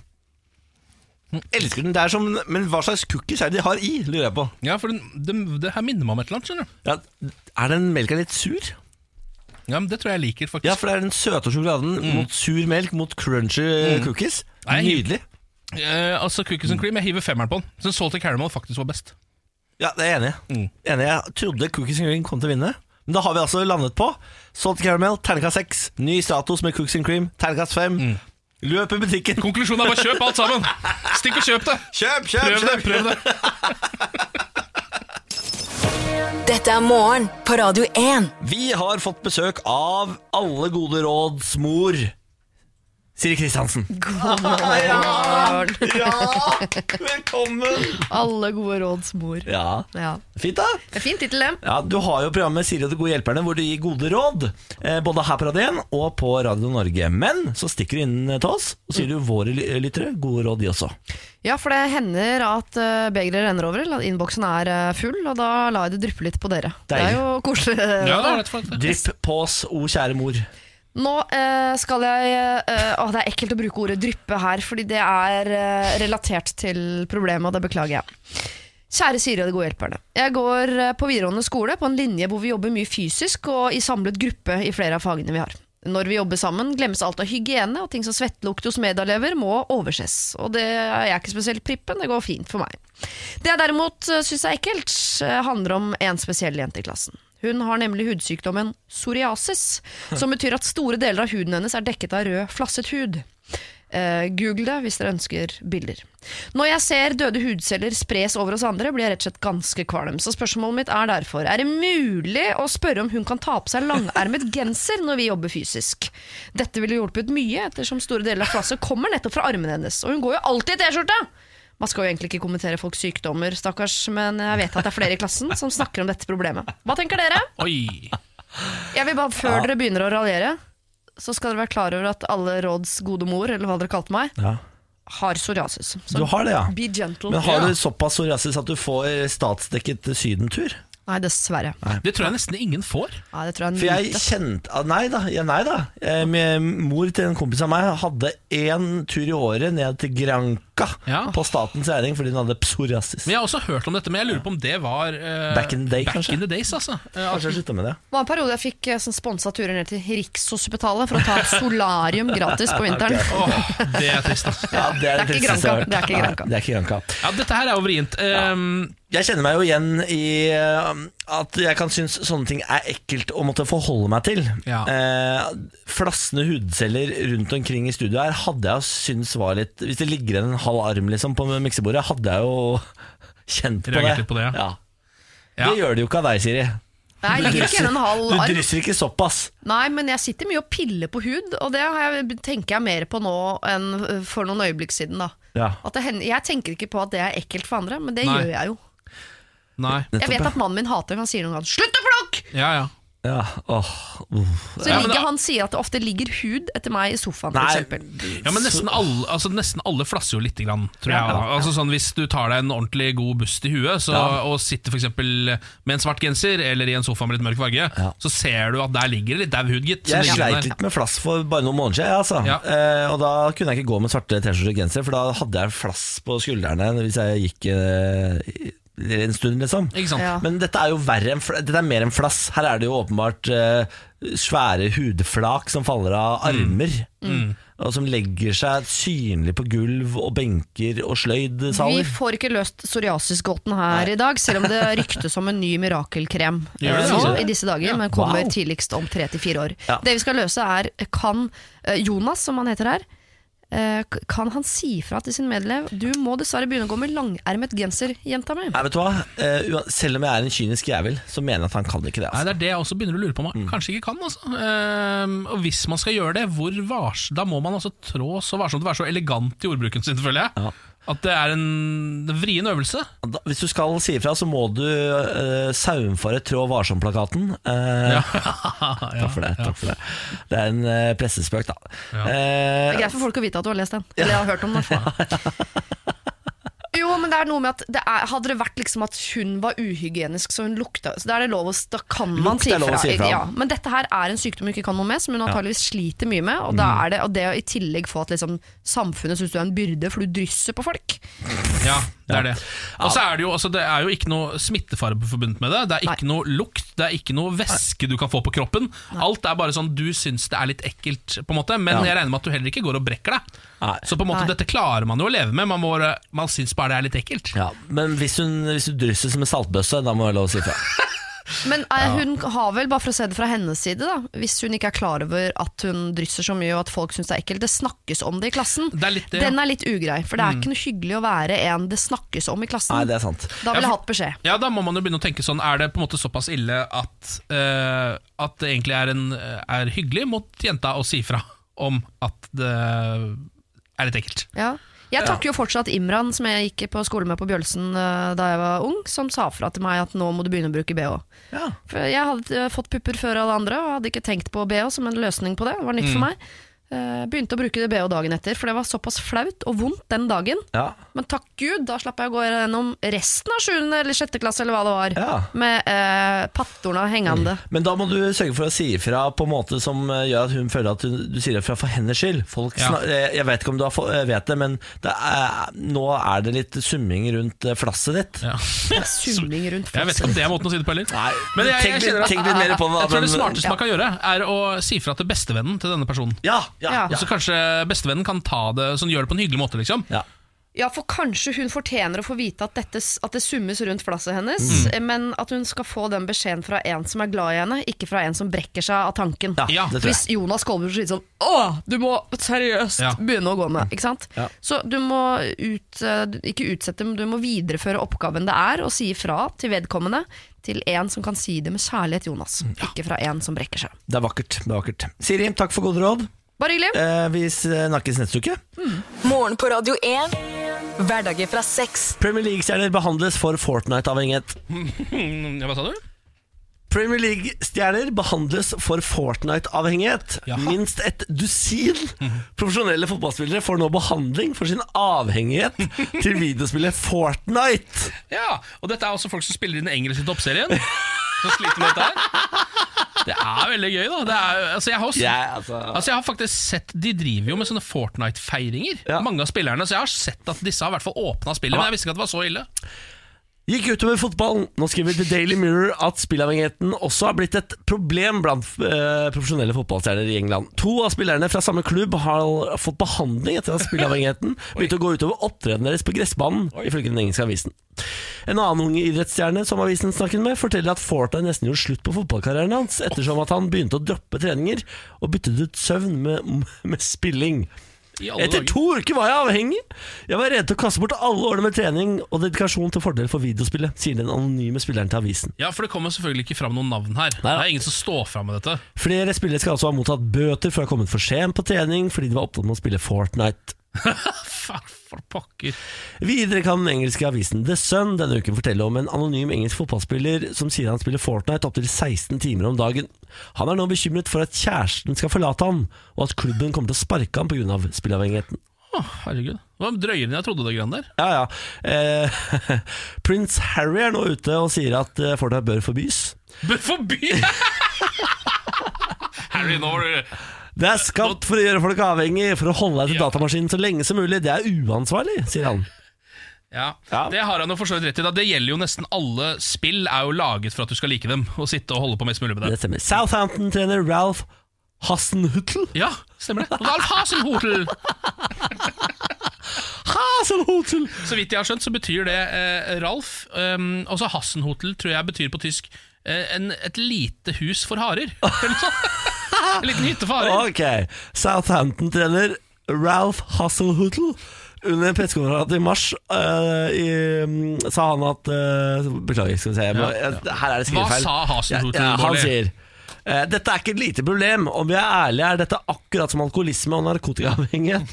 S1: Elsker den. Det er som, men hva slags cookies er det de har i, lurer jeg på.
S2: Ja, for den, den, Det her minner meg om et eller annet. skjønner du
S1: Ja, er den melka litt sur?
S2: Ja, men Det tror jeg jeg liker, faktisk.
S1: Ja, for det er den søte sjokoladen mot sur melk mot crunchy cookies.
S2: Nei.
S1: Nydelig.
S2: eh, altså Cookies
S1: Mm.
S2: and cream, jeg hiver femmeren på den. Så den salty caramel faktisk var best.
S1: Ja, det er jeg enig. i. enig. i. Jeg trodde Cookies and Cream kom til å vinne. Men da har vi altså landet på Salt Caramel, terningkast 6. Ny status med Cookies and Cream, terningkast 5. Løp i butikken.
S2: Konklusjonen er bare kjøp alt sammen! Stikk og kjøp det!
S1: Kjøp, kjøp,
S2: Prøv det! prøv det
S3: Dette er morgen på Radio 1.
S1: Vi har fått besøk av alle gode råds mor. Siri Kristiansen. Ja! Velkommen!
S6: Alle gode råds mor.
S1: Ja,
S6: Ja.
S1: Fint, da.
S6: Det er Fin tittel, det.
S1: Ja, Du har jo programmet Siri og de gode hjelperne, hvor du gir gode råd. eh, Både her på Radio 1 og på Radio Norge. Men så stikker du inn eh, til oss, og sier du våre ly- lyttere gode råd, de også.
S6: Ja, for det hender at eh, begeret renner over, eller at innboksen er eh, full, og da lar jeg det dryppe litt på dere. Det
S1: Deilig.
S6: er jo koselig. eh,
S2: Ja, det
S6: da.
S2: er rett og slett det.
S1: Drypp på oss, o kjære mor.
S6: Nå eh, skal jeg eh, Å, det er ekkelt å bruke ordet dryppe her, fordi det er eh, relatert til problemet, og det beklager jeg. Kjære Siri og de gode hjelperne. Jeg går eh, på videregående skole på en linje hvor vi jobber mye fysisk og i samlet gruppe i flere av fagene vi har. Når vi jobber sammen, glemmes alt av hygiene, og ting som svettelukt hos medelever må overses. Og det er jeg ikke spesielt prippen, det går fint for meg. Det jeg derimot eh, syns er ekkelt, eh, handler om en spesiell jente i klassen. Hun har nemlig hudsykdommen psoriasis, som betyr at store deler av huden hennes er dekket av rød, flasset hud. Eh, Google det hvis dere ønsker bilder. Når jeg ser døde hudceller spres over oss andre, blir jeg rett og slett ganske kvalm. Så spørsmålet mitt er derfor er det mulig å spørre om hun kan ta på seg langermet genser når vi jobber fysisk. Dette ville hjulpet mye, ettersom store deler av flasset kommer nettopp fra armene hennes. Og hun går jo alltid i T-skjorte! Man skal jo egentlig ikke kommentere folks sykdommer, stakkars, men jeg vet at det er flere i klassen som snakker om dette problemet. Hva tenker dere?
S2: Oi!
S6: Jeg vil bare, Før dere begynner å raljere, så skal dere være klar over at alle råds gode mor, eller hva dere kalte meg,
S1: Ja.
S6: har psoriasis. Så
S1: Du har det, ja.
S6: be gentle.
S1: Men har du såpass psoriasis at du får statsdekket sydentur?
S6: Nei, dessverre.
S2: Det tror jeg nesten ingen får.
S6: Nei, det tror jeg
S1: For
S6: er en
S1: jeg
S6: myte.
S1: kjente ah, Nei da. Ja, nei da. Eh, Min mor til en kompis av meg hadde én tur i året ned til Granca
S2: Ja.
S1: på statens regning fordi hun hadde psoriasis.
S2: Men jeg har også hørt om dette, men jeg lurer på om det var eh,
S1: Back in the day,
S2: back
S1: kanskje?
S2: in the days, altså. Eh,
S1: Kanskje jeg slutta med det.
S6: Det var en periode jeg fikk eh, sånn sponsa turer ned til Rikshospitalet for å ta et solarium gratis på vinteren.
S2: åh, det er trist, altså.
S1: Ja, det er
S6: Det
S1: det
S6: er ikke
S1: tristeste jeg har
S6: Granca, det er
S1: hørt.
S6: ikke Granca.
S1: Nei, Det er ikke Granca.
S2: Ja, dette her er jo vrient. Ehm,
S1: Jeg kjenner meg jo igjen i eh, at jeg kan synes sånne ting er ekkelt å måtte forholde meg til.
S2: Ja.
S1: Eh, flassende hudceller rundt omkring i studio her hadde jeg syntes var litt Hvis det ligger igjen en halv arm liksom på miksebordet, hadde jeg jo (laughs) kjent på det.
S2: Reagert litt på det, ja.
S1: Det
S2: ja.
S1: gjør det jo ikke av deg, Siri.
S6: Nei, Jeg ligger ikke igjen en halv
S1: Du
S6: arm.
S1: drysser ikke såpass.
S6: Nei, men jeg sitter mye og piller på hud, og det har jeg, tenker jeg mer på nå enn eh, for noen øyeblikk siden. da
S1: Ja.
S6: at det hender, Jeg tenker ikke på at det er ekkelt for andre, men det
S2: Nei.
S6: gjør jeg jo.
S2: Nei.
S6: Jeg vet at mannen min hater det, han sier noen ganger 'slutt å plukke'!
S2: Ja, ja.
S1: Ja, åh, uff.
S6: Så
S2: Ja, men
S6: ligger,
S2: da-
S6: han sier at det ofte ligger hud etter meg i sofaen,
S1: Nei.
S6: f.eks.
S2: Ja, men nesten alle, altså nesten alle flasser jo lite grann, tror jeg. Altså sånn Hvis du tar deg en ordentlig god bust i huet, så, og sitter f.eks. med en svart genser eller i en sofa med litt mørk farge, så ser du at der ligger det litt dau hud, gitt. som
S1: Jeg
S2: ligger
S1: sleit
S2: der.
S1: litt med flass for bare noen måneder siden. Altså.
S2: Ja.
S1: Eh, og da kunne jeg ikke gå med svarte T-skjorter og genser, for da hadde jeg flass på skuldrene hvis jeg gikk eh, i- en stund, liksom.
S2: Ikke sant?
S6: Ja.
S1: Men dette er jo verre enn fl- Dette er mer enn flass. Her er det jo åpenbart eh, svære hudflak som faller
S2: Mm.
S1: av armer. Og som legger seg synlig på gulv og benker og
S6: Vi
S1: sløydsaler.
S6: får ikke løst psoriasisgåten her i dag, selv om det ryktes om en ny mirakelkrem
S2: (laughs) Gjør det,
S6: eh, nå
S2: altså?
S6: i disse dager, men kommer
S1: Wow.
S6: tidligst om tre til fire år.
S1: Ja.
S6: Det vi skal løse er, kan eh, Jonas, som han heter her, eh, kan han si fra til sin medelev Du må dessverre begynne å gå med langermet genser, jenta mi.
S1: Nei, vet du hva? Eh, ua- selv om jeg er en kynisk jævel, så mener jeg at han kan ikke det.
S2: Nei,
S1: Altså.
S2: Det er det jeg også begynner å lure på om
S1: Mm.
S2: man kanskje ikke kan. Altså. Ehm, og hvis man skal gjøre det, hvor vars, da må man altså trå så varsomt og være så elegant i ordbruken sin, selvfølgelig.
S1: Ja.
S2: At det er en vrien øvelse.
S1: Da, hvis du skal si ifra, så må du uh, saumfare Trå varsom-plakaten. Eh,
S2: (laughs)
S1: Takk for det. takk for Det Det er en eh, pressespøk, da.
S2: Ja.
S1: Eh,
S6: Det er greit for folk å vite at du har lest den. Eller har hørt om den. i hvert fall.
S1: (laughs)
S6: Jo, men det er noe med at det er, Hadde det vært liksom at hun var uhygienisk, så hun lukta Så da er det lov å Da kan man
S1: Lukt
S6: si
S1: er lov å
S6: fra.
S1: si fra.
S6: Ja, men dette her er en sykdom hun ikke kan noe med, som hun antageligvis sliter mye med. Og, da
S1: Mhm.
S6: er det, og det å i tillegg få at liksom, samfunnet syns du er en byrde, for du drysser på folk.
S2: Ja, det er det. Og så er det jo, altså, det er jo ikke noe smittefare forbundet med det. Det er ikke noe lukt, det er ikke noe væske du kan få på kroppen. Alt er bare sånn du syns det er litt ekkelt, på en måte, men
S1: Ja.
S2: jeg regner med at du heller ikke går og brekker deg.
S1: Nei.
S2: Så på en måte,
S6: Nei.
S2: dette klarer man jo å leve med, man, må, bare- man syns bare det er litt ekkelt.
S1: ja. Men hvis, hun, hvis du drysser som en saltbøsse, da må jeg lov å si ifra.
S6: (laughs) Men eh, hun har vel, bare for å se det fra hennes side, da hvis hun ikke er klar over at hun drysser så mye og at folk syns det er ekkelt, det snakkes om det i klassen.
S2: Det er litt det, ja.
S6: Den er litt ugrei, for det er ikke noe hyggelig å være en det snakkes om i klassen.
S1: Nei, det er sant.
S2: Ja,
S6: Da ville jeg
S2: for-
S6: hatt beskjed.
S2: Ja, da må man jo begynne å tenke sånn Er det på en måte såpass ille at, eh, at det egentlig er, en, er hyggelig mot jenta å si fra om at det er litt ekkelt?
S6: Ja. Jeg takker jo fortsatt Imran, som jeg gikk på skole med på Bjølsen eh, da jeg var ung, som sa fra til meg at nå må du begynne å bruke bh.
S1: Ja.
S6: For jeg hadde eh, fått pupper før alle andre, og hadde ikke tenkt på bh som en løsning på det. Det var nytt for meg. Eh, begynte å bruke det bh dagen etter, for det var såpass flaut og vondt den dagen.
S1: Ja.
S6: Men takk Gud, da slapp jeg å gå gjennom resten av 7. eller 6. klasse, eller hva det var,
S1: Ja.
S6: med eh, pattorna hengende.
S1: Men da må du sørge for å si ifra på en måte som eh, gjør at hun føler at hun, du sier ifra for hennes skyld. Folk
S2: Ja.
S1: snak- eh, jeg vet ikke om du har, få- eh, vet det, men det er, nå er det litt summing rundt eh, flasset ditt.
S2: Ja.
S6: Summing rundt
S2: Jeg vet ikke om det er måten å si det på heller.
S1: Nei,
S2: Men jeg,
S1: tenk,
S2: jeg,
S1: litt-
S2: kjenner at-
S1: tenk litt mer på det. da,
S2: jeg tror det
S1: men-
S2: smarteste man kan gjøre, er å si fra til bestevennen til denne personen.
S1: Ja, ja,
S6: Ja.
S1: ja.
S2: Så kanskje bestevennen kan ta det sånn, gjør det på en hyggelig måte, liksom.
S1: Ja.
S6: Ja, for kanskje hun fortjener å få vite at, dette, at det summes rundt flasset hennes, eh,
S1: Mm.
S6: men at hun skal få den beskjeden fra en som er glad i henne, ikke fra en som brekker seg av tanken.
S1: Ja,
S2: Ja,
S1: det tror
S6: Hvis
S1: jeg.
S6: Jonas Kolbjørn sier sånn Å, du må seriøst
S2: Ja.
S6: begynne å gå med. Ikke sant? Så du må ut, eh, ikke utsette, men du må videreføre oppgaven det er, og si ifra til vedkommende. Til en som kan si det med kjærlighet, Jonas. Ikke fra en som brekker seg.
S1: Det er vakkert. det er vakkert Siri, takk for gode råd.
S6: Bare hyggelig.
S1: Eh, vi snakkes neste uke.
S3: Morgen på Radio 1. Hverdager fra seks.
S1: Premier League-stjerner behandles for Fortnite-avhengighet.
S2: Mm, ja, Hva sa du?
S1: Premier League-stjerner behandles for Fortnite-avhengighet.
S2: Ja.
S1: Minst et dusin profesjonelle fotballspillere får nå behandling for sin avhengighet til videospillet Fortnite.
S2: Ja, og dette er også folk som spiller i den engelske toppserien. Som sliter med dette her. Det er veldig gøy, da. Det er, altså, jeg, har også,
S1: Jeg, altså,
S2: altså, jeg har faktisk sett De driver jo med sånne Fortnite-feiringer,
S1: Ja.
S2: mange av spillerne. Så jeg har sett at disse har i hvert fall åpna spillet, men jeg visste ikke at det var så ille.
S1: gikk utover fotballen. Nå skriver The Daily Mirror at spillavhengigheten også har blitt et problem blant eh, profesjonelle fotballstjerner i England. To av spillerne fra samme klubb har fått behandling etter at spillavhengigheten begynte å gå utover opptredenen deres på gressbanen, ifølge den engelske avisen. En annen ung idrettsstjerne som avisen snakket med, forteller at Fortnite nesten gjorde slutt på fotballkarrieren hans, ettersom at han begynte å droppe treninger og byttet ut søvn med, med spilling.
S2: I alle
S1: Etter
S2: dager.
S1: to uker var jeg avhengig. Jeg var redd til å kaste bort alle årene med trening og dedikasjon til fordel for videospillet, sier den anonyme spilleren til avisen.
S2: Ja, for det kommer selvfølgelig ikke fram noen navn her.
S1: Nei,
S2: Det
S1: da.
S2: er ingen som står fram med dette.
S1: Flere spillere skal altså ha mottatt bøter for å ha kommet for sent på trening fordi de var opptatt med å spille Fortnite.
S2: Fuck, for pokker.
S1: Videre kan den engelske avisen The Sun denne uken fortelle om en anonym engelsk fotballspiller som sier han spiller Fortnite opptil 16 timer om dagen. Han er nå bekymret for at kjæresten skal forlate han, og at klubben kommer til å sparke ham pga. spilleavhengigheten.
S2: Å, herregud. Det var drøyere enn jeg trodde, det greiene der.
S1: Ja, ja. Eh, (laughs) Prins Harry er nå ute og sier at eh, Fortnite bør forbys.
S2: Bør forby! (laughs) Harry, nå var du
S1: Det er skapt for å gjøre folk avhengig, for å holde deg til
S2: Ja.
S1: datamaskinen så lenge som mulig. Det er uansvarlig, sier han.
S2: Ja,
S1: Ja.
S2: Det har han jo for så vidt rett i. da Det gjelder jo nesten alle spill er jo laget for at du skal like dem. Og sitte og holde på mest mulig med
S1: Det
S2: det.
S1: stemmer. Southampton-trener Ralph Hassenhutel
S2: Ja, stemmer det. Ralf Hasenhotel!
S1: Hasenhutel!
S2: Så vidt jeg har skjønt, så betyr det eh, Ralf. Um, og så Hasenhotel tror jeg betyr på tysk eh, en, et lite hus for
S1: (laughs)
S2: harer. Eller sånn. en liten hytte for harer.
S1: Ok. Southampton-trener Ralph Hassenhutel under pressekonferansen i mars eh, i, mm, sa han at eh, Beklager, skal vi se. Jeg må,
S2: Ja,
S1: jeg, her er det
S2: Hva
S1: skrivefeil.
S2: sa Hasenhotel?
S1: Ja, ja, han
S2: Bårdli?
S1: sier «Eh, dette er ikke et lite problem. Om jeg er ærlig, er dette akkurat som alkoholisme og narkotikaavhengighet.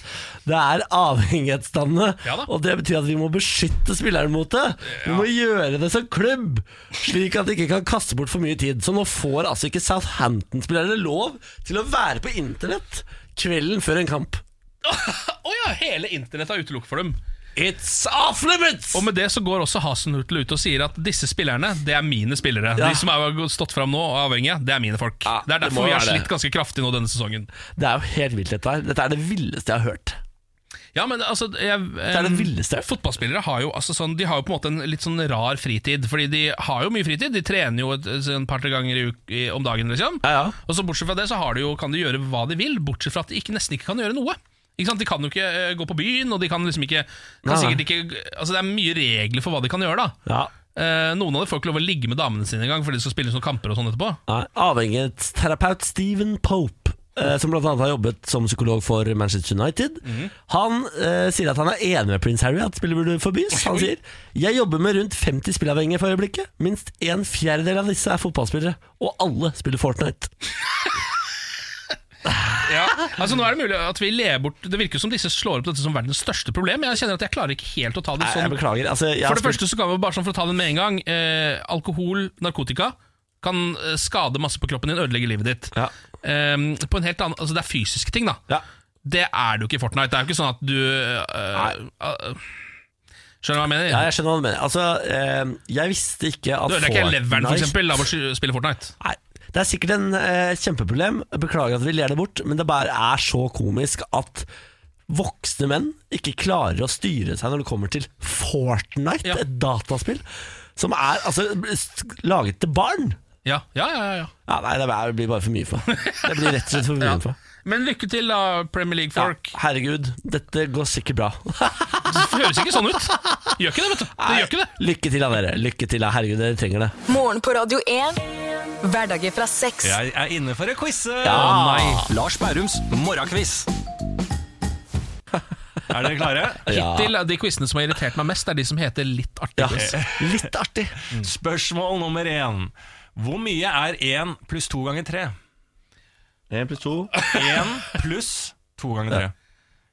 S1: Det er avhengighetsdannende,
S2: Ja da.
S1: og det betyr at vi må beskytte spilleren mot det. Vi må gjøre det som klubb, slik at de ikke kan kaste bort for mye tid. Så nå får altså ikke Southampton-spillere lov til å være på internett kvelden før en kamp.
S2: Å ja, hele internett er utelukket for dem.
S1: It's off limits!
S2: Og med det så går også Hasenhutel ut og sier at disse spillerne, det er mine spillere.
S1: Ja.
S2: De som har stått fram nå og er avhengige, det er mine folk.
S1: Ja,
S2: det er
S1: det
S2: derfor
S1: må
S2: vi har
S1: være det.
S2: slitt ganske kraftig nå denne sesongen.
S1: Det er jo helt vilt, dette her. Dette er det villeste jeg har hørt.
S2: Ja, men altså jeg, Det
S1: er det villeste.
S2: Fotballspillere har jo, altså, sånn, de har jo på en måte en litt sånn rar fritid. Fordi de har jo mye fritid. De trener jo et, et par-tre ganger i uk i, om dagen, liksom.
S1: Ja, ja.
S2: Og så Bortsett fra det så har de jo, kan de gjøre hva de vil, bortsett fra at de ikke, nesten ikke kan gjøre noe. Ikke sant? De kan jo ikke eh, gå på byen, og de kan liksom ikke, kan
S1: Nei, nei.
S2: sikkert ikke Altså Det er mye regler for hva de kan gjøre. da
S1: Ja.
S2: Eh, noen av dem får ikke lov å ligge med damene sine engang fordi de skal spille sånne kamper og sånn etterpå.
S1: Nei, Avhengighetsterapeut Stephen Pope eh, som bl.a. har jobbet som psykolog for Manchester United. Han eh, sier at han er enig med prins Harry at spillet burde forbys. Han sier Jeg jobber med rundt 50 spillavhengige for øyeblikket. Minst en fjerdedel av disse er fotballspillere, og alle spiller Fortnite.
S2: Altså nå er Det mulig at vi ler bort Det virker som disse slår opp dette som verdens største problem. Jeg kjenner at jeg klarer ikke helt å ta det
S1: Nei,
S2: sånn.
S1: jeg beklager. Altså, jeg har
S2: For det
S1: spilt-
S2: første så kan vi bare sånn for å ta den med en gang eh, Alkohol, narkotika kan eh, skade masse på kroppen din, ødelegge livet ditt.
S1: Ja.
S2: Eh, på en helt annen, altså Det er fysiske ting, da.
S1: Ja.
S2: Det er det jo ikke i Fortnite. Det er jo ikke sånn at du eh, eh, Skjønner du hva jeg mener?
S1: ja, jeg skjønner hva du mener. Altså, eh, jeg visste ikke at
S2: du ødelegger ikke leveren, for
S1: Fortnite-
S2: eksempel, av å sky- spille Fortnite.
S1: Nei, det er sikkert en eh, kjempeproblem. Beklager at vi ler det bort, men det bare er så komisk at voksne menn ikke klarer å styre seg når det kommer til Fortnite,
S2: Ja.
S1: et dataspill som er altså, s- laget til barn.
S2: Ja, ja, ja, ja, ja.
S1: Ja, nei, det er- det blir bare for mye for meg. Det blir rett og slett for mye
S2: Ja.
S1: for meg.
S2: Men lykke til, da, Premier League-folk.
S1: Herregud, dette går sikkert bra.
S2: Det høres ikke sånn ut. Gjør ikke det, vet du. Det gjør ikke det.
S1: Lykke til, da, dere. Lykke til, da. Herregud, dere trenger det.
S3: Morgen på Radio 1. Hverdager fra seks.
S4: Jeg er inne for å quize!
S1: Ja.
S4: nei. Lars Bærums morgenquiz. Er dere klare?
S2: Hittil er de quizene som har irritert meg mest, er de som heter Litt artig
S1: Ja.
S2: quiz.
S1: Litt artig.
S4: Spørsmål nummer én. Hvor mye er én pluss to ganger tre?
S5: Én pluss to.
S4: Én pluss to ganger tre.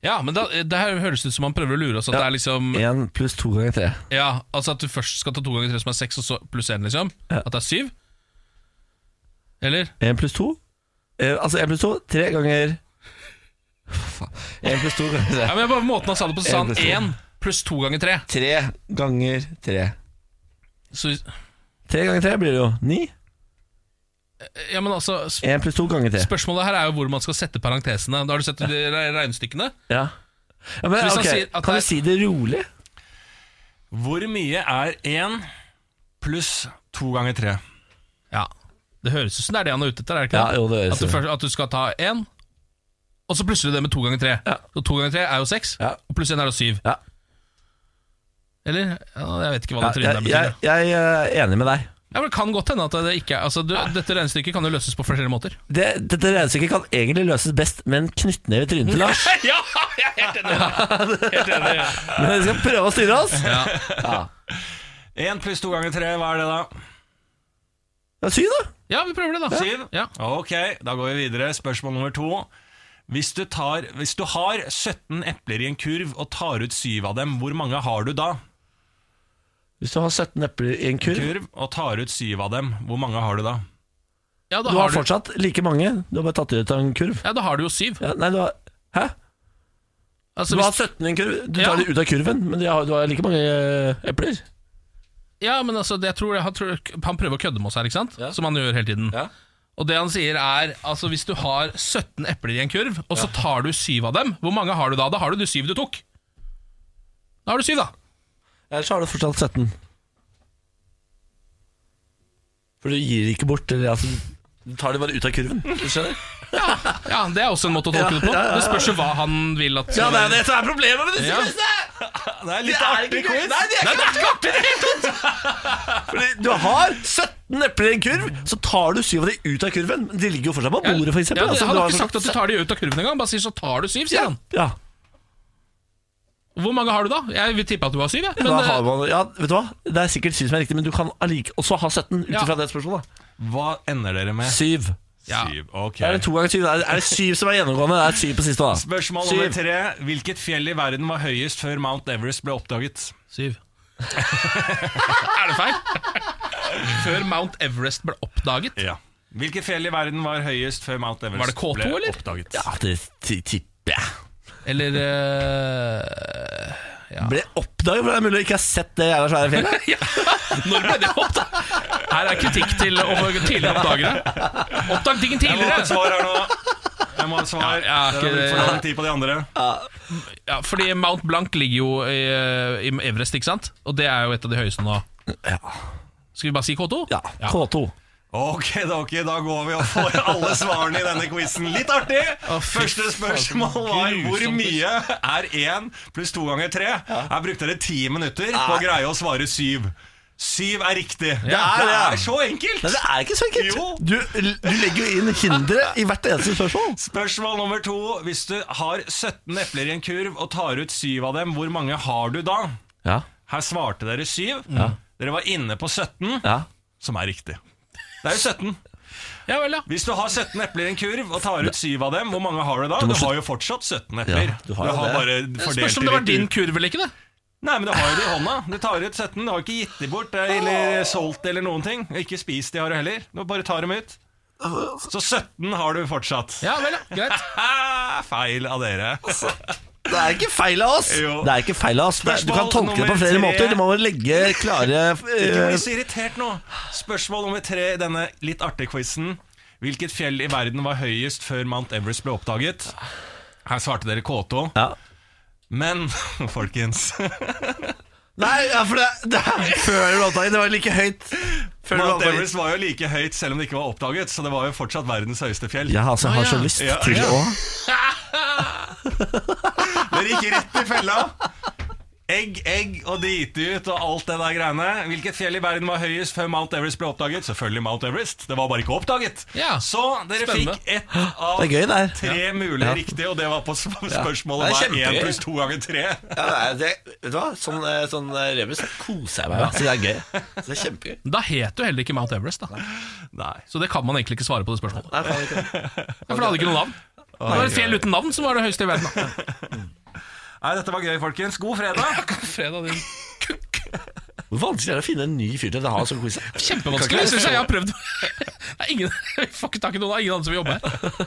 S2: Ja, men da, det her høres ut som han prøver å lure oss. At det er liksom
S1: Én pluss to ganger tre.
S2: Ja, altså at du først skal ta to ganger tre som er seks, og så pluss én, liksom? At det er syv? Eller?
S1: Én pluss to? Eh, altså én pluss to, tre ganger Én pluss to ganger tre.
S2: Ja, men jeg bare Måten han sa det på, så sa han
S1: En pluss to.
S2: én pluss to ganger tre.
S1: Tre ganger tre.
S2: Så,
S1: Tre ganger tre blir det jo ni.
S2: ja, men altså sp
S1: Én pluss to ganger tre.
S2: Spørsmålet her er jo hvor man skal sette parentesene. Da har du sett de re- regnestykkene?
S1: Ja. ja men,
S2: Så hvis han
S1: ok,
S2: sier
S1: Kan
S2: at det
S1: du
S2: er-
S1: si det rolig?
S4: Hvor mye er én pluss to ganger tre?
S2: Ja. Det høres ut som det er det han er ute etter. er det ikke
S1: Ja,
S2: det?
S1: jo, det høres
S2: At du, først, at du skal ta én, og så plusser du det med to ganger tre.
S1: Ja.
S2: Og to ganger tre er jo seks,
S1: Ja.
S2: og pluss én er da syv.
S1: Ja.
S2: Eller? Ja, jeg vet ikke hva
S1: Ja,
S2: det trynet der
S1: jeg,
S2: betyr.
S1: jeg, jeg eh, er enig med deg.
S2: Ja, men det kan godt hende at det ikke er altså, du, Dette regnestykket kan jo løses på flere måter.
S1: Det, dette regnestykket kan egentlig løses best med en knyttneve i trynet til Lars.
S2: (laughs) ja, jeg er helt enig med deg. Helt enig.
S1: Men vi skal prøve å styre oss.
S2: Ja.
S4: Én pluss to ganger tre, hva er det da?
S1: Ja, si det.
S2: ja, vi prøver det, da.
S4: Siv?
S2: Ja.
S4: Ok, da går vi videre. Spørsmål nummer to. Hvis du, tar, hvis du har 17 epler i en kurv og tar ut 7 av dem, hvor mange har du da?
S1: Hvis du har 17 epler i en kurv
S4: Kurv og tar ut 7 av dem, hvor mange har du da?
S2: Ja,
S1: Du
S2: da
S1: har
S2: har du,
S1: fortsatt like mange. Du har bare tatt ut av en kurv.
S2: ja, da har du jo syv.
S1: Ja, nei, du har Hæ?
S2: Altså,
S1: Du har
S2: hvis,
S1: 17 i en kurv. Du
S2: Ja.
S1: tar det ut av kurven, men du har, du har like mange eh, epler.
S2: ja, men altså, det jeg tror, han, tror, han prøver å kødde med oss her, ikke sant? Som han gjør hele tiden.
S1: Ja.
S2: Og det han sier er altså hvis du har 17 epler i en kurv, og så tar du syv av dem, hvor mange har du da? Da har du de syv du tok. Da har du syv, da.
S1: Ellers har du fortsatt 17. For du gir ikke bort. Eller, altså, du tar det bare ut av kurven. (laughs) Du skjønner?
S2: Ja, Det er også en måte å tolke det på. Det spørs jo hva han vil at
S1: Ja, det er jo det som er problemet med disse
S2: Ja.
S1: quizene!
S4: Det er litt
S1: Det er
S4: artig
S1: ikke gøy.
S4: quiz!
S1: Nei, det er ikke artig i det hele (laughs) tatt! Fordi du har 17 epler i en kurv, så tar du 7 av de ut av kurven. Men de ligger jo fortsatt på bordet, f.eks.
S2: Ja, det, han har ikke sagt at du tar de ut av kurven engang. Bare sier så tar du syv, sier han.
S1: ja.
S2: Hvor mange har du da? Jeg vil tippe at du har syv, jeg. Men,
S1: da
S2: eh,
S1: har man, ja, vet du hva? Det er sikkert 7 som er riktig, men du kan allike, også ha 17 ut
S2: Ja.
S1: ifra det spørsmålet.
S4: Hva ender dere med?
S1: 7.
S2: ja.
S4: Syv, ok.
S1: Er det to ganger 7? Er er det 7 som er gjennomgående? Det er 7 på siste, da.
S4: Spørsmål
S1: Syv.
S4: nummer tre. Hvilket fjell i verden var høyest før Mount Everest ble oppdaget?
S2: Syv. er det feil? (laughs) Før Mount Everest ble oppdaget?
S4: Ja. Hvilket fjell i verden var høyest før Mount Everest
S2: Var det K2,
S4: ble
S2: eller?
S4: oppdaget?
S1: Ja, det ti- tipper jeg.
S2: Eller eh, (laughs) ja.
S1: Ble oppdaget for det er mulig å ikke ha sett det jævla svære fjellet.
S2: Ja, Når ble det oppdaget? Her er kritikk til over- tidligere oppdagere. Oppdag ting
S4: Jeg må ha
S2: tidligere!
S4: et svar her nå. Jeg må ha et svar.
S2: Ja, ja, ikke
S4: Dere har brukt
S2: det-
S4: for lang tid på de andre.
S2: Ja, fordi Mount Blanc ligger jo i, eh, i Everest, ikke sant? Og det er jo et av de høyeste nå. Skal vi bare si K2?
S1: Ja, K2.
S4: Ok, da, ok, da går vi og får alle svarene i denne quizen. Litt artig!
S2: Å, fy
S4: Første spørsmål
S2: faen,
S4: var hvor
S2: grusomt.
S4: mye er én pluss to ganger tre? Her brukte dere ti minutter på å greie å svare syv. Syv er riktig. Det
S1: er
S4: er, det
S1: det.
S4: er så enkelt!
S1: Nei, det er ikke så
S4: Jo.
S1: enkelt. Du, du legger jo inn hindre i hvert eneste spørsmål.
S4: Spørsmål nummer to. Hvis du har 17 epler i en kurv og tar ut syv av dem, hvor mange har du da?
S1: Ja,
S4: Her svarte dere syv. Dere var inne på 17,
S1: ja.
S4: som er riktig. Det er jo 17.
S2: Ja vel, ja.
S4: Hvis du har 17 epler i en kurv og tar ut syv av dem, hvor mange har du da?
S1: Du
S4: Du,
S1: må slutt-
S4: har jo fortsatt 17 epler.
S1: Ja, du har jo det.
S4: bare
S2: Det
S4: fordelt
S2: spørs om
S4: i
S2: det var
S4: riktig-
S2: din kurv eller ikke, det.
S4: Nei, men du har jo det i hånda. Du tar ut 17. Du har ikke gitt de bort eh, eller solgt eller noen ting. Ikke spist de har du heller. Du bare tar dem ut. Så 17 har du fortsatt.
S2: Ja vel, ja. Greit.
S4: Ah, feil av dere.
S1: Det er ikke feil av oss.
S4: Jo.
S1: Det er ikke feil av oss Det- Du kan
S4: Spørsmål
S1: tolke det på
S4: nummer
S1: flere
S4: tre.
S1: måter. Du må bare legge klare
S4: Ikke
S1: eh,
S4: bli så irritert nå. Spørsmål nummer tre i denne litt artige quizen. Hvilket fjell i verden var høyest før Mount Everest ble oppdaget? Her svarte dere K2.
S1: Ja.
S4: Men, (laughs) folkens
S1: (laughs) Nei, ja, for det, det er før låta Det var like høyt Før
S4: Mount
S1: du var-
S4: Everest var jo like høyt selv om det ikke var oppdaget, så det var jo fortsatt verdens høyeste fjell.
S1: Jeg altså, har så
S2: ja.
S1: lyst
S4: Ja,
S1: til
S4: ja.
S1: å
S4: (laughs) Dere gikk rett i fella. Egg, egg og drite ut og alt det der greiene. Hvilket fjell i verden var høyest før Mount Everest ble oppdaget? Selvfølgelig Mount Everest. Det var bare ikke oppdaget.
S2: Ja,
S4: Så dere
S2: spennende.
S4: fikk ett av
S1: Det er gøy, det her.
S4: tre mulige riktige, og det var på sp-
S1: Det
S4: spørsmålet hva
S1: er
S4: er én
S1: kjempegøy.
S4: pluss to ganger tre?
S1: Ja, nei, det, vet du hva? Sånn, eh, sånn eh, rebus jeg koser jeg meg med. Så det er gøy. Så det er kjempegøy.
S2: Da het du heller ikke Mount Everest, da.
S4: Nei.
S2: Så det kan man egentlig ikke svare på det spørsmålet.
S1: Nei, faen ikke.
S2: Ja, For det hadde ikke noe navn. Det var et fjell uten navn som var det høyeste i verden.
S4: (laughs)
S2: da.
S4: Nei, dette var gøy, folkens. God
S1: (laughs)
S4: fredag.
S2: Fredag din.
S1: Hvor vanskelig er det å finne en ny fyr til å ha en sånn quiz?
S2: Kjempevanskelig. Jeg synes jeg jeg har prøvd. (laughs) Det er ingen, vi får ikke tak i noen, det er ingen andre som vil jobbe her.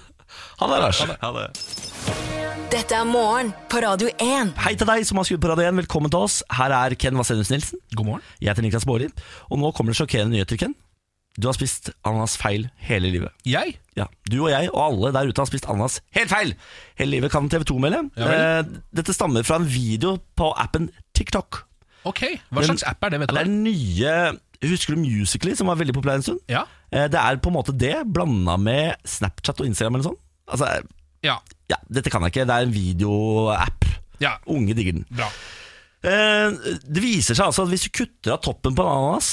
S1: Ha det, Lars.
S4: Ha det.
S3: Dette er morgen på Radio 1.
S1: Hei til deg som har skrudd på radioen. Velkommen til oss. Her er Ken Vasenus Nilsen.
S2: God morgen.
S1: Jeg heter Niklas Baarli. Og nå kommer det sjokkerende nyheter, Ken. Du har spist ananas feil hele livet.
S2: Jeg?
S1: Ja, Du og jeg og alle der ute har spist ananas helt feil hele livet, kan TV 2 melde.
S2: Ja vel.
S1: Eh, Dette stammer fra en video på appen TikTok.
S2: Ok, Hva slags app er det, vet
S1: Det er
S2: du? det?
S1: den nye Husker du Musically, som var veldig populær en stund?
S2: Ja,
S1: Eh, Det er på en måte det, blanda med Snapchat og Instagram eller sånn. Altså,
S2: ja,
S1: ja, dette kan jeg ikke. Det er en videoapp.
S2: ja,
S1: Unge digger den.
S2: bra.
S1: Eh, Det viser seg altså at hvis du kutter av toppen på en ananas,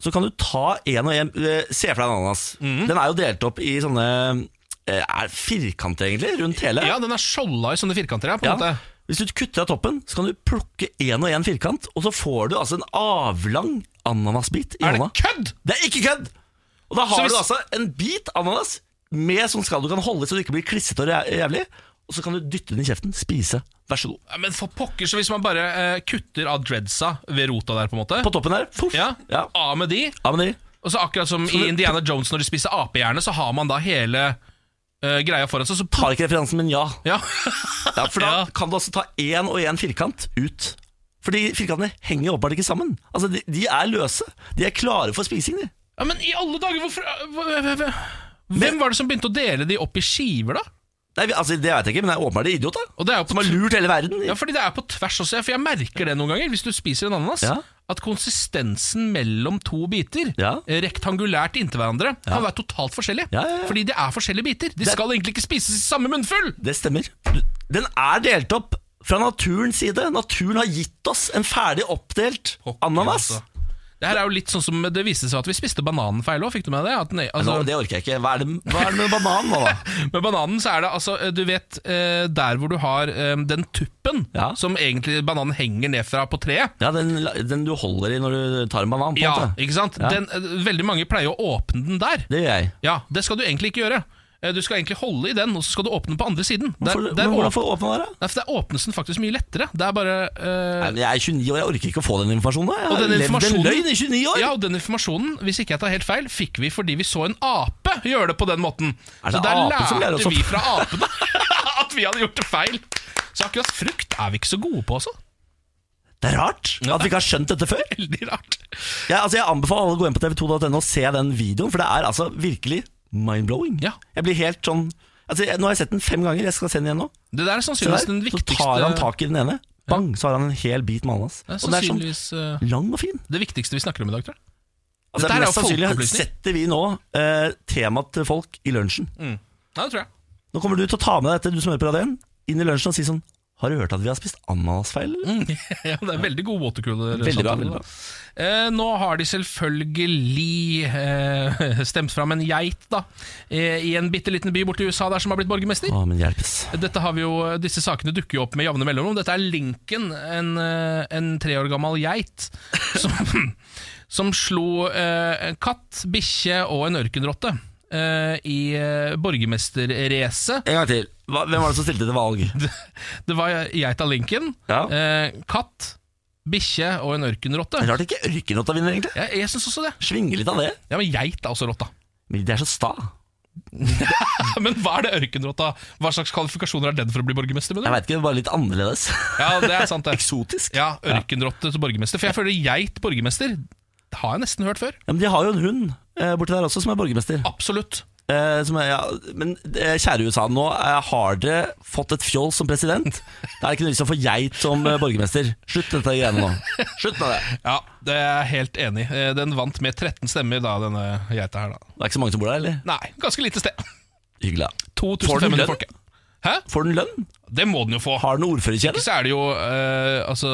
S1: så kan du ta en og en eh, Se for deg en ananas.
S2: Mhm.
S1: Den er jo delt opp i sånne eh, er firkanter, egentlig, rundt hele.
S2: Ja, den er skjolda i sånne firkanter, ja, på en
S1: Ja.
S2: måte.
S1: Hvis du kutter av toppen, så kan du plukke én og én firkant, og så får du altså en avlang ananasbit i
S2: Er det
S1: hånda.
S2: kødd?!
S1: Det er ikke kødd! Og da
S2: Så
S1: har
S2: hvis-
S1: du altså en bit ananas med sånn skall du kan holde så du ikke blir klissete og jæ- jævlig, og så kan du dytte den i kjeften, spise, vær så god.
S2: Ja, Men for pokker, så hvis man bare eh, kutter av dreadsa ved rota der, på en måte
S1: På toppen der, poff.
S2: Ja,
S1: Ja.
S2: Av med de,
S1: Ja, men det,
S2: og så akkurat som i Indiana Jones når de spiser apehjerne, så har man da hele eh, greia foran seg, så
S1: har ikke referansen, men ja.
S2: Ja, (laughs)
S1: ja for da
S2: Ja.
S1: kan du altså ta én og én firkant ut. Fordi firkantene henger jo åpenbart ikke sammen. Altså, de, de er løse. De er klare for spising, de.
S2: ja men i alle dager, hvorfor hva- hva- hva- Hvem var det som begynte å dele de opp i skiver, da?
S1: Nei, vi- altså, det vet jeg ikke, men det er åpenbart de idioter
S2: Og det er jo på
S1: som har lurt hele verden.
S2: Ja, fordi det er på tvers også, ja, for jeg merker det noen ganger hvis du spiser en ananas.
S1: Ja.
S2: At konsistensen mellom to biter,
S1: Ja.
S2: eh, rektangulært inntil hverandre, kan være totalt forskjellig.
S1: Ja, ja, ja.
S2: Fordi de er forskjellige biter. De skal egentlig ikke spises i samme munnfull!
S1: Det stemmer. Du- Den er delt opp fra naturens side. Naturen har gitt oss en ferdig oppdelt ananas.
S2: altså. Det her er jo litt sånn som det viste seg at vi spiste bananen feil òg, fikk du med det? At, den- altså,
S1: Nå, det orker jeg ikke. Hva er det, hva er det med bananen nå, da?
S2: Med bananen så er det altså, eh, du vet, eh, der hvor du har eh, den tuppen
S1: Ja.
S2: som egentlig bananen henger ned fra på treet.
S1: Ja, den, den du holder i når du tar en banan. på en
S2: Ja,
S1: måte.
S2: ikke sant? Den, eh, veldig mange pleier å åpne den der.
S1: Det gjør jeg.
S2: Ja, det skal du egentlig ikke gjøre. Eh, Du skal egentlig holde i den, og så skal du åpne den på andre siden. Der,
S1: Hvorfor,
S2: der,
S1: men hvordan
S2: åp
S1: får åpne dere?
S2: Nei, for der åpnes den faktisk mye lettere. Det er bare eh,
S1: Nei, men Jeg er 29 år, jeg orker ikke å få den informasjonen. da. Jeg
S2: Og
S1: har
S2: den
S1: levd
S2: informasjonen-
S1: en løgn i 29 år!
S2: Ja, og den informasjonen, hvis ikke jeg tar helt feil, fikk vi fordi vi så en ape gjøre det på den måten.
S1: Er det
S2: så der
S1: ape som lærer oss
S2: lærte
S1: opp?
S2: vi fra apene (laughs) at vi hadde gjort det feil. Så akkurat frukt er vi ikke så gode på også.
S1: Det er rart at vi ikke har skjønt dette før.
S2: Veldig rart.
S1: Jeg, altså, jeg anbefaler alle å gå inn på tv2.no og se den videoen, for det er altså virkelig mind-blowing.
S2: Ja.
S1: Jeg blir helt sånn altså, jeg, Nå har jeg sett den fem ganger, jeg skal se den igjen nå.
S2: Det der er
S1: Se der, så tar
S2: sannsynligvis den
S1: han
S2: viktigste
S1: tak i den ene, bang, så har han en hel bit med ananas. Og den er
S2: det er
S1: sånn
S2: sannsynligvis eh,
S1: lang og fin.
S2: det viktigste vi snakker om i dag, tror jeg.
S1: Altså,
S2: Dette er
S1: mest
S2: jo
S1: sannsynlig
S2: folkeopplysning.
S1: setter vi nå eh, temaet til folk i lunsjen.
S2: Nei, det tror jeg.
S1: Nå kommer du til å ta med deg dette, du som hører på radioen, inn i lunsjen og si sånn Har du hørt at vi har spist ananasfeil? eller?»
S2: (laughs) ja, det er Mm. veldig god watercooler.
S1: Veldig bra,
S2: samtale,
S1: veldig bra.
S2: da. Eh, nå har de selvfølgelig eh, (laughs) stemt fram en geit da, eh, i en bitte liten by borti USA der som har blitt borgermester.
S1: Å, men hjelpes.
S2: Dette har vi jo, disse sakene dukker jo opp med javne mellomrom. Dette er Lincoln, en, eh, en tre år gammel geit, (laughs) som, som slo eh, en katt, bikkje og en ørkenrotte eh, i eh, borgermesterracet.
S1: En gang til. Hva, hvem var det som stilte til valg?
S2: (laughs) Det var geita Lincoln,
S1: Ja.
S2: eh, katt, bikkje og en ørkenrotte.
S1: Rart ikke ørkenrotta vinner, egentlig.
S2: Jeg, jeg syns også det.
S1: Svinge litt av det.
S2: Ja, Men geit er også rotta.
S1: Men de er så sta.
S2: (laughs) Men hva er det ørkenrotta? Hva slags kvalifikasjoner er den for å bli borgermester? Med
S1: Jeg veit ikke, bare litt annerledes. (laughs)
S2: Ja, det er sant det.
S1: Eksotisk. Ja.
S2: Ja, Ørkenrotte til borgermester. For jeg føler geit borgermester det har jeg nesten hørt før.
S1: Men de har jo en hund eh, borti der også som er borgermester.
S2: Absolutt.
S1: Eh, som, er- ja, men eh, kjære USA, nå eh, har dere fått et fjoll som president. Da er det ikke noe vits i å få geit som eh, borgermester. Slutt dette greiene nå. Slutt med det.
S2: Ja, det er jeg helt enig i. Eh, Den vant med 13 stemmer, da, denne geita her. da
S1: Det er ikke så mange som bor der, eller?
S2: Nei, ganske lite sted.
S1: Hyggelig. da. Får den
S2: 2500
S1: lønn?
S2: folk. ja. Hæ?
S1: Får den lønn?
S2: Det må den jo få.
S1: Har den ordførerkjede?
S2: Så er det jo eh, altså,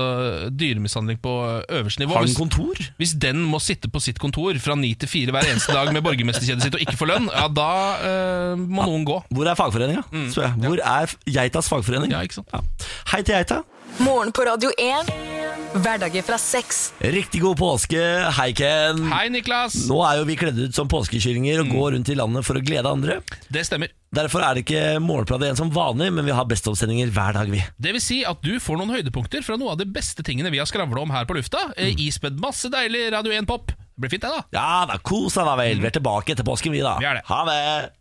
S2: dyremishandling på øverste nivå.
S1: Har
S2: Hvis,
S1: den kontor?
S2: hvis den må sitte på sitt kontor fra ni til fire hver eneste dag med borgermesterkjedet sitt og ikke få lønn, ja, da eh,
S1: Ah.
S2: må noen gå.
S1: Hvor er fagforeninga? spør jeg. Hvor er f- geitas fagforening?
S2: Mm. Ja, ikke sant?
S1: Ja. Hei til geita.
S3: Morgen på Radio 1. Hverdager fra seks.
S1: Riktig god påske. Hei, Ken.
S2: Hei, Mm. Niklas!
S1: Nå er jo vi kledd ut som påskekyllinger og går rundt i landet for å glede andre.
S2: Det stemmer.
S1: Derfor er det ikke morgenprat igjen som vanlig, men vi har bestoppsendinger hver dag, vi.
S2: Det vil si at du får noen høydepunkter fra noe av de beste tingene vi har skravla om her på lufta. Eh, Ispedd masse deilig Radio 1-pop. Det blir fint, det, da.
S1: Ja da, kos deg da vel. Vi er tilbake etter påsken, vi da.
S2: Vi er det.
S1: Ha det.